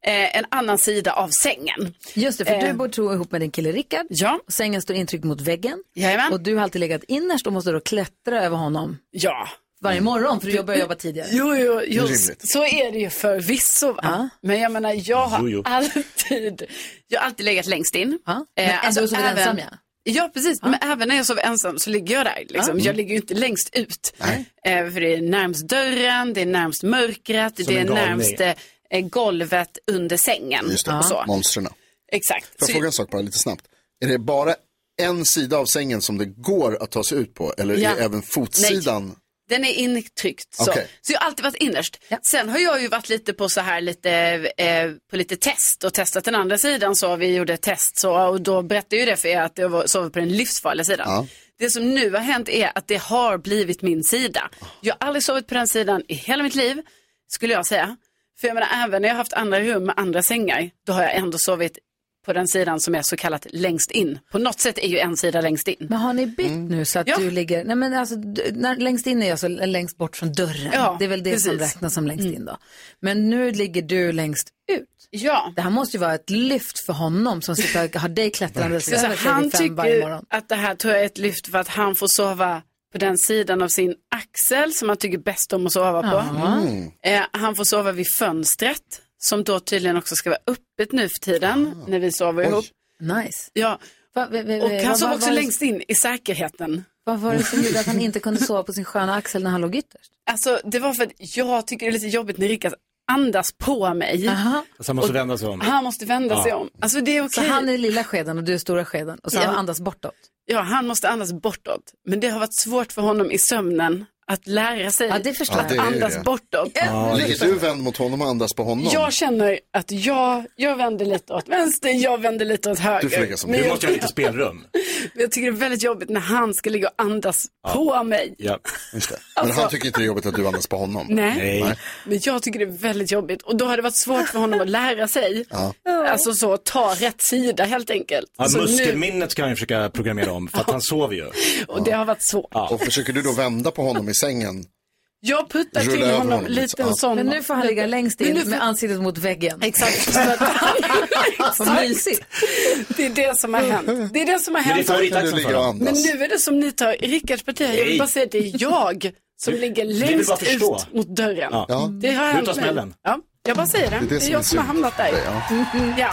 Speaker 4: eh, en annan sida av sängen.
Speaker 1: Just det, för du
Speaker 4: Eh.
Speaker 1: bor tror jag, ihop med din kille Rickard.
Speaker 4: Ja.
Speaker 1: Sängen står intryckt mot väggen.
Speaker 4: Jajamän.
Speaker 1: Och du har alltid legat innerst och måste då klättra över honom.
Speaker 4: Ja. Mm.
Speaker 1: Varje morgon, för du börjar jobba tidigare.
Speaker 4: Jo, jo, jo
Speaker 1: Det är rimligt.
Speaker 4: så är det ju förvisso. Va? Men jag menar, jag har
Speaker 1: Jo, jo.
Speaker 4: alltid jag har alltid legat längst in. Eh, alltså,
Speaker 1: Ja. Men ändå sover du ensam, ja.
Speaker 4: Ja, precis. Men även när jag sover ensam så ligger jag där. Liksom.
Speaker 1: Ja.
Speaker 4: Jag ligger ju inte längst ut. Eh, för det är närmst dörren, det är närmst mörkret,
Speaker 3: Som
Speaker 4: det är
Speaker 3: en galning.
Speaker 4: närmst eh, golvet under sängen.
Speaker 3: Just det,
Speaker 4: Och så.
Speaker 3: monstren.
Speaker 4: Exakt.
Speaker 3: Får jag
Speaker 4: Så-
Speaker 3: fråga en sak bara lite snabbt? Är det bara en sida av sängen som det går att ta sig ut på? Eller
Speaker 4: Ja.
Speaker 3: är även fotsidan?
Speaker 4: Den är intryckt. Så.
Speaker 3: Okej.
Speaker 4: så jag har alltid varit innerst. Sen har jag ju varit lite på så här lite, eh, på lite test och testat den andra sidan så. Vi gjorde ett test så och då berättade jag ju det för er att jag var- sov på den livsfarliga sidan. Det som nu har hänt är att det har blivit min sida. Jag har aldrig sovit på den sidan i hela mitt liv, skulle jag säga. För jag menar, även när jag har haft andra rum med andra sängar, då har jag ändå sovit på den sidan som är så kallat längst in. På något sätt är ju en sida längst in.
Speaker 1: Men har ni bytt
Speaker 4: Mm.
Speaker 1: nu så att du ligger, nej men alltså, du- när, längst in är jag så längst bort från dörren.
Speaker 4: Ja,
Speaker 1: det är väl det som
Speaker 4: precis. Mm.
Speaker 1: räknas som längst in då. Men nu ligger du längst ut.
Speaker 4: Ja.
Speaker 1: Det här måste ju vara ett lyft för honom som sitter, har dig klättrandes
Speaker 4: Så
Speaker 1: över
Speaker 4: han
Speaker 1: 35 Alltså, varje
Speaker 4: tycker
Speaker 1: morgon.
Speaker 4: att det här tror jag är ett lyft för att han får sova på den sidan av sin axel som han tycker bäst om att sova på.
Speaker 1: Ja. Mm.
Speaker 4: Eh, han får sova vid fönstret som då tydligen också ska vara öppet nu för tiden när vi sover ihop.
Speaker 1: Ah. Nice.
Speaker 4: Ja. Och han
Speaker 1: vad-
Speaker 4: sov
Speaker 1: vad
Speaker 4: också
Speaker 1: var det-
Speaker 4: längst in i säkerheten.
Speaker 1: Vad var det som gjorde att han inte kunde sova på sin sköna axel när han låg ytterst?
Speaker 4: Alltså det var för att jag tycker det är lite jobbigt när Rickard andas på mig.
Speaker 8: Så han måste vända sig om.
Speaker 4: Han måste vända sig
Speaker 8: Ja.
Speaker 4: om. Alltså det är okej.
Speaker 1: Så han är lilla skeden och du är stora skeden och så
Speaker 4: Ja.
Speaker 1: han andas bortåt.
Speaker 4: Ja, han måste andas bortåt. Men det har varit svårt för honom i sömnen att lära sig
Speaker 1: Ja, det förstår
Speaker 4: att
Speaker 3: jag. Ja, det är ju
Speaker 4: andas
Speaker 3: det.
Speaker 4: bortåt.
Speaker 3: Ja, ligger du vänd mot honom och andas på honom?
Speaker 4: Jag känner att jag, jag vänder lite åt vänster, jag vänder lite åt höger.
Speaker 3: Du får lägga som
Speaker 4: Men
Speaker 3: du
Speaker 4: jag,
Speaker 3: måste göra
Speaker 8: Lite spelrum.
Speaker 4: men jag tycker det är väldigt jobbigt när han ska ligga och andas på mig.
Speaker 8: Ja.
Speaker 3: Just det. Men han tycker inte det är jobbigt att du andas på honom?
Speaker 4: Nej. Men jag tycker det är väldigt jobbigt och då har det varit svårt för honom att lära sig.
Speaker 8: Ja.
Speaker 4: Alltså så, ta rätt sida helt enkelt.
Speaker 8: Ja,
Speaker 4: Så Alltså, nu-
Speaker 8: Alltså, muskelminnet ska han ju försöka programmera om för att han sover ju.
Speaker 4: Och det har varit svårt.
Speaker 3: Och försöker du då vända på honom i sängen?
Speaker 4: Jag puttar
Speaker 3: Rulla
Speaker 4: till
Speaker 3: över
Speaker 4: honom,
Speaker 3: honom lite,
Speaker 4: lite
Speaker 3: ja.
Speaker 4: en sån.
Speaker 1: Men nu får han ligga längst in
Speaker 4: Men nu får-
Speaker 1: med ansiktet mot väggen.
Speaker 4: Exakt. Så att han...
Speaker 1: Vad
Speaker 4: Exakt. Det är det som har
Speaker 8: Mm.
Speaker 4: hänt. Det är det som har
Speaker 8: Men det är
Speaker 4: hänt.
Speaker 8: favoritaxeln för honom.
Speaker 4: Men nu är det som ni tar Rickards parti. här. Jag vill
Speaker 8: Nej.
Speaker 4: bara säga att det är jag som
Speaker 8: Du-
Speaker 4: ligger
Speaker 8: vi vill bara
Speaker 4: längst
Speaker 8: förstå.
Speaker 4: ut mot dörren.
Speaker 8: Ja. Ja.
Speaker 4: Det har
Speaker 8: Du
Speaker 4: hänt
Speaker 8: tar
Speaker 4: mig.
Speaker 8: smällen.
Speaker 4: Ja, jag bara säger det.
Speaker 8: Det är det
Speaker 4: Det är,
Speaker 8: som är
Speaker 4: jag som har
Speaker 8: synd.
Speaker 4: hamnat där.
Speaker 8: Ja.
Speaker 4: Ja.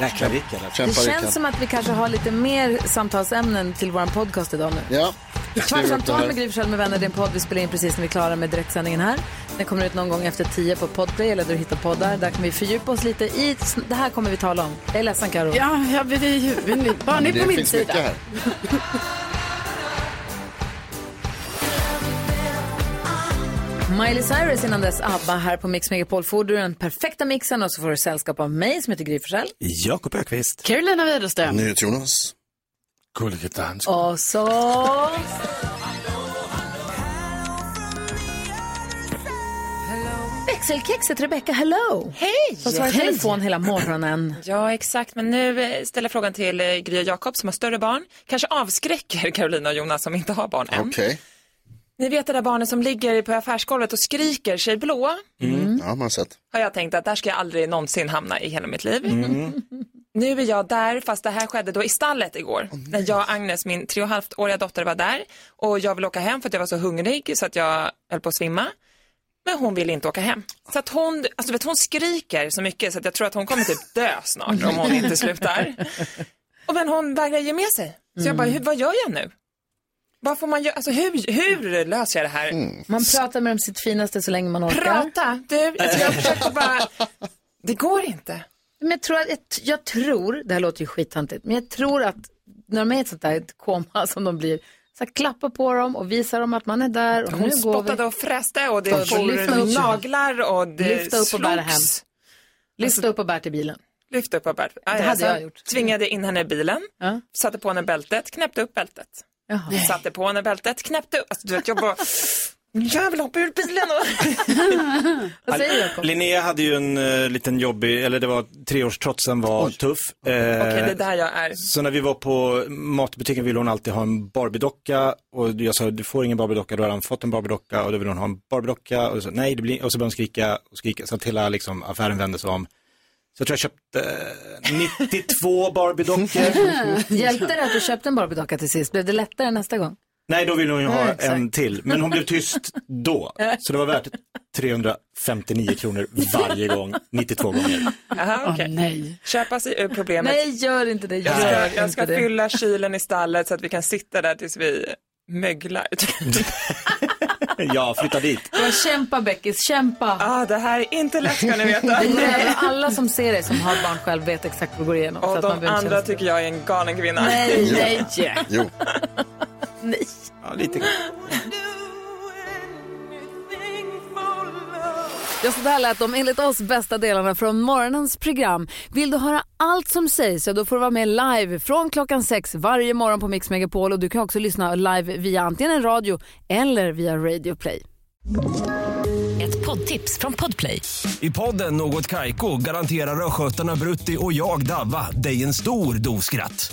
Speaker 8: Jäkla Rickard.
Speaker 1: Det känns som att vi kanske har lite mer samtalsämnen till vår podcast idag nu.
Speaker 3: Ja.
Speaker 1: Kvartsamtal med Gry Forssell med vänner, det är en podd vi spelar in precis när vi är klara med direktsändningen här. Den kommer ut någon gång efter tio på Podplay eller där du hittar poddar. Där kan vi fördjupa oss lite i, det här kommer vi tala om. Jag är ledsen Karo.
Speaker 4: Ja, jag blir i huvudet. Bara ni är på min sida.
Speaker 1: Miley Cyrus innan dess ABBA här på Mix Megapol. Får du den perfekta mixen och så får du sällskap av mig som heter Gry Forssell.
Speaker 8: Jakob Ökvist.
Speaker 4: Carolina Widerström.
Speaker 3: Jonas.
Speaker 5: Gullige dansk.
Speaker 1: Och så... Växelkexet Rebecca, hello!
Speaker 21: Hej!
Speaker 1: Som svarar i telefon hela morgonen.
Speaker 21: Ja, exakt. Men nu eh, ställer jag frågan till eh, Gry och Jakob som har större barn. Kanske avskräcker Carolina och Jonas som inte har barn än.
Speaker 3: Okej.
Speaker 21: Ni vet det där barnet som ligger på affärsgolvet och skriker sig blå.
Speaker 3: Mm. Ja, man har sett.
Speaker 21: Har jag tänkt att där ska jag aldrig någonsin hamna i hela mitt liv.
Speaker 3: Mm.
Speaker 21: Nu är jag där, fast det här skedde då i stallet igår. när jag och Agnes, min tre och halvt-åriga dotter, var där. Och jag ville åka hem för att jag var så hungrig så att jag höll på att svimma. Men hon vill inte åka hem. Så att hon, alltså vet, du, hon skriker så mycket så att jag tror att hon kommer typ dö snart om hon inte slutar. Och men hon vägrar ge med sig. Så jag bara, hur, vad gör jag nu? Vad får man göra? Alltså hur, hur löser jag det här?
Speaker 1: Man pratar med dem sitt finaste så länge man orkar.
Speaker 21: Prata! Du, alltså jag försökte bara... Det går inte.
Speaker 1: Men jag, tror att, jag, jag tror, det här låter ju skittantigt, men jag tror att när de är i ett sånt där ett koma som de blir, så här, klappa på dem och visa dem att man är där. Och
Speaker 21: Hon
Speaker 1: nu går vi.
Speaker 21: spottade och fräste och det
Speaker 1: Lyfta
Speaker 21: for
Speaker 1: upp.
Speaker 21: naglar och det
Speaker 1: Lyfta upp och bära hem.
Speaker 21: slogs.
Speaker 1: Lyfta upp och bär till bilen.
Speaker 21: Lyfte upp och bärt.
Speaker 1: Det hade jag gjort.
Speaker 21: Tvingade in henne i bilen, satte på henne bältet, knäppte upp bältet. Satte på henne bältet, knäppte upp. Alltså, du vet, jag bara... Jag vill hoppa ur bilen och...
Speaker 1: Vad säger du, Jakob?
Speaker 8: Linnea hade ju en eh, liten jobbig, eller det var treårstrotsen var tuff. Eh,
Speaker 21: Okej, det är där jag är.
Speaker 8: Så när vi var på matbutiken ville hon alltid ha en Barbiedocka och jag sa du får ingen Barbiedocka, du har redan fått en Barbiedocka och då vill hon ha en Barbiedocka och så, nej det blir, och så började hon skrika och skrika så att hela liksom, affären vände sig om. Så jag tror jag köpte eh, 92 Barbiedockor.
Speaker 1: Hjälpte det att du köpte en Barbiedocka till sist? Blev det lättare nästa gång?
Speaker 8: Nej, då ville hon ju
Speaker 1: Nej,
Speaker 8: ha
Speaker 1: exakt.
Speaker 8: en till. Men hon blev tyst då. Så det var värt 359 kronor varje gång, 92 gånger.
Speaker 21: Aha, okay.
Speaker 17: nej.
Speaker 21: Köpa sig ur problemet.
Speaker 1: Nej, gör inte det. Gör
Speaker 21: Jag ska,
Speaker 1: inte
Speaker 21: jag ska
Speaker 1: det.
Speaker 21: fylla kylen i stallet så att vi kan sitta där tills vi möglar.
Speaker 8: Ja, flytta dit.
Speaker 1: Det var kämpa Beckis, kämpa.
Speaker 21: Ah, det här är inte lätt ska ni veta.
Speaker 1: Det är alla som ser dig som har barn själv vet exakt vad du går igenom.
Speaker 21: Och de
Speaker 1: behöver inte
Speaker 21: andra
Speaker 1: känna sig-
Speaker 21: tycker jag är en galen kvinna.
Speaker 1: Nej, nej.
Speaker 3: Jo.
Speaker 1: nej.
Speaker 8: Ja, lite.
Speaker 1: Ja, så där lät de enligt oss bästa delarna från morgonens program. Vill du höra allt som sägs så då får du vara med live från klockan sex varje morgon på Mix Megapol och du kan också lyssna live via antingen en radio eller via Radio Play.
Speaker 2: Ett poddtips från Podplay.
Speaker 22: I podden Något Kaiko garanterar östgötarna Brutti och jag, Davva, dig en stor dos skratt.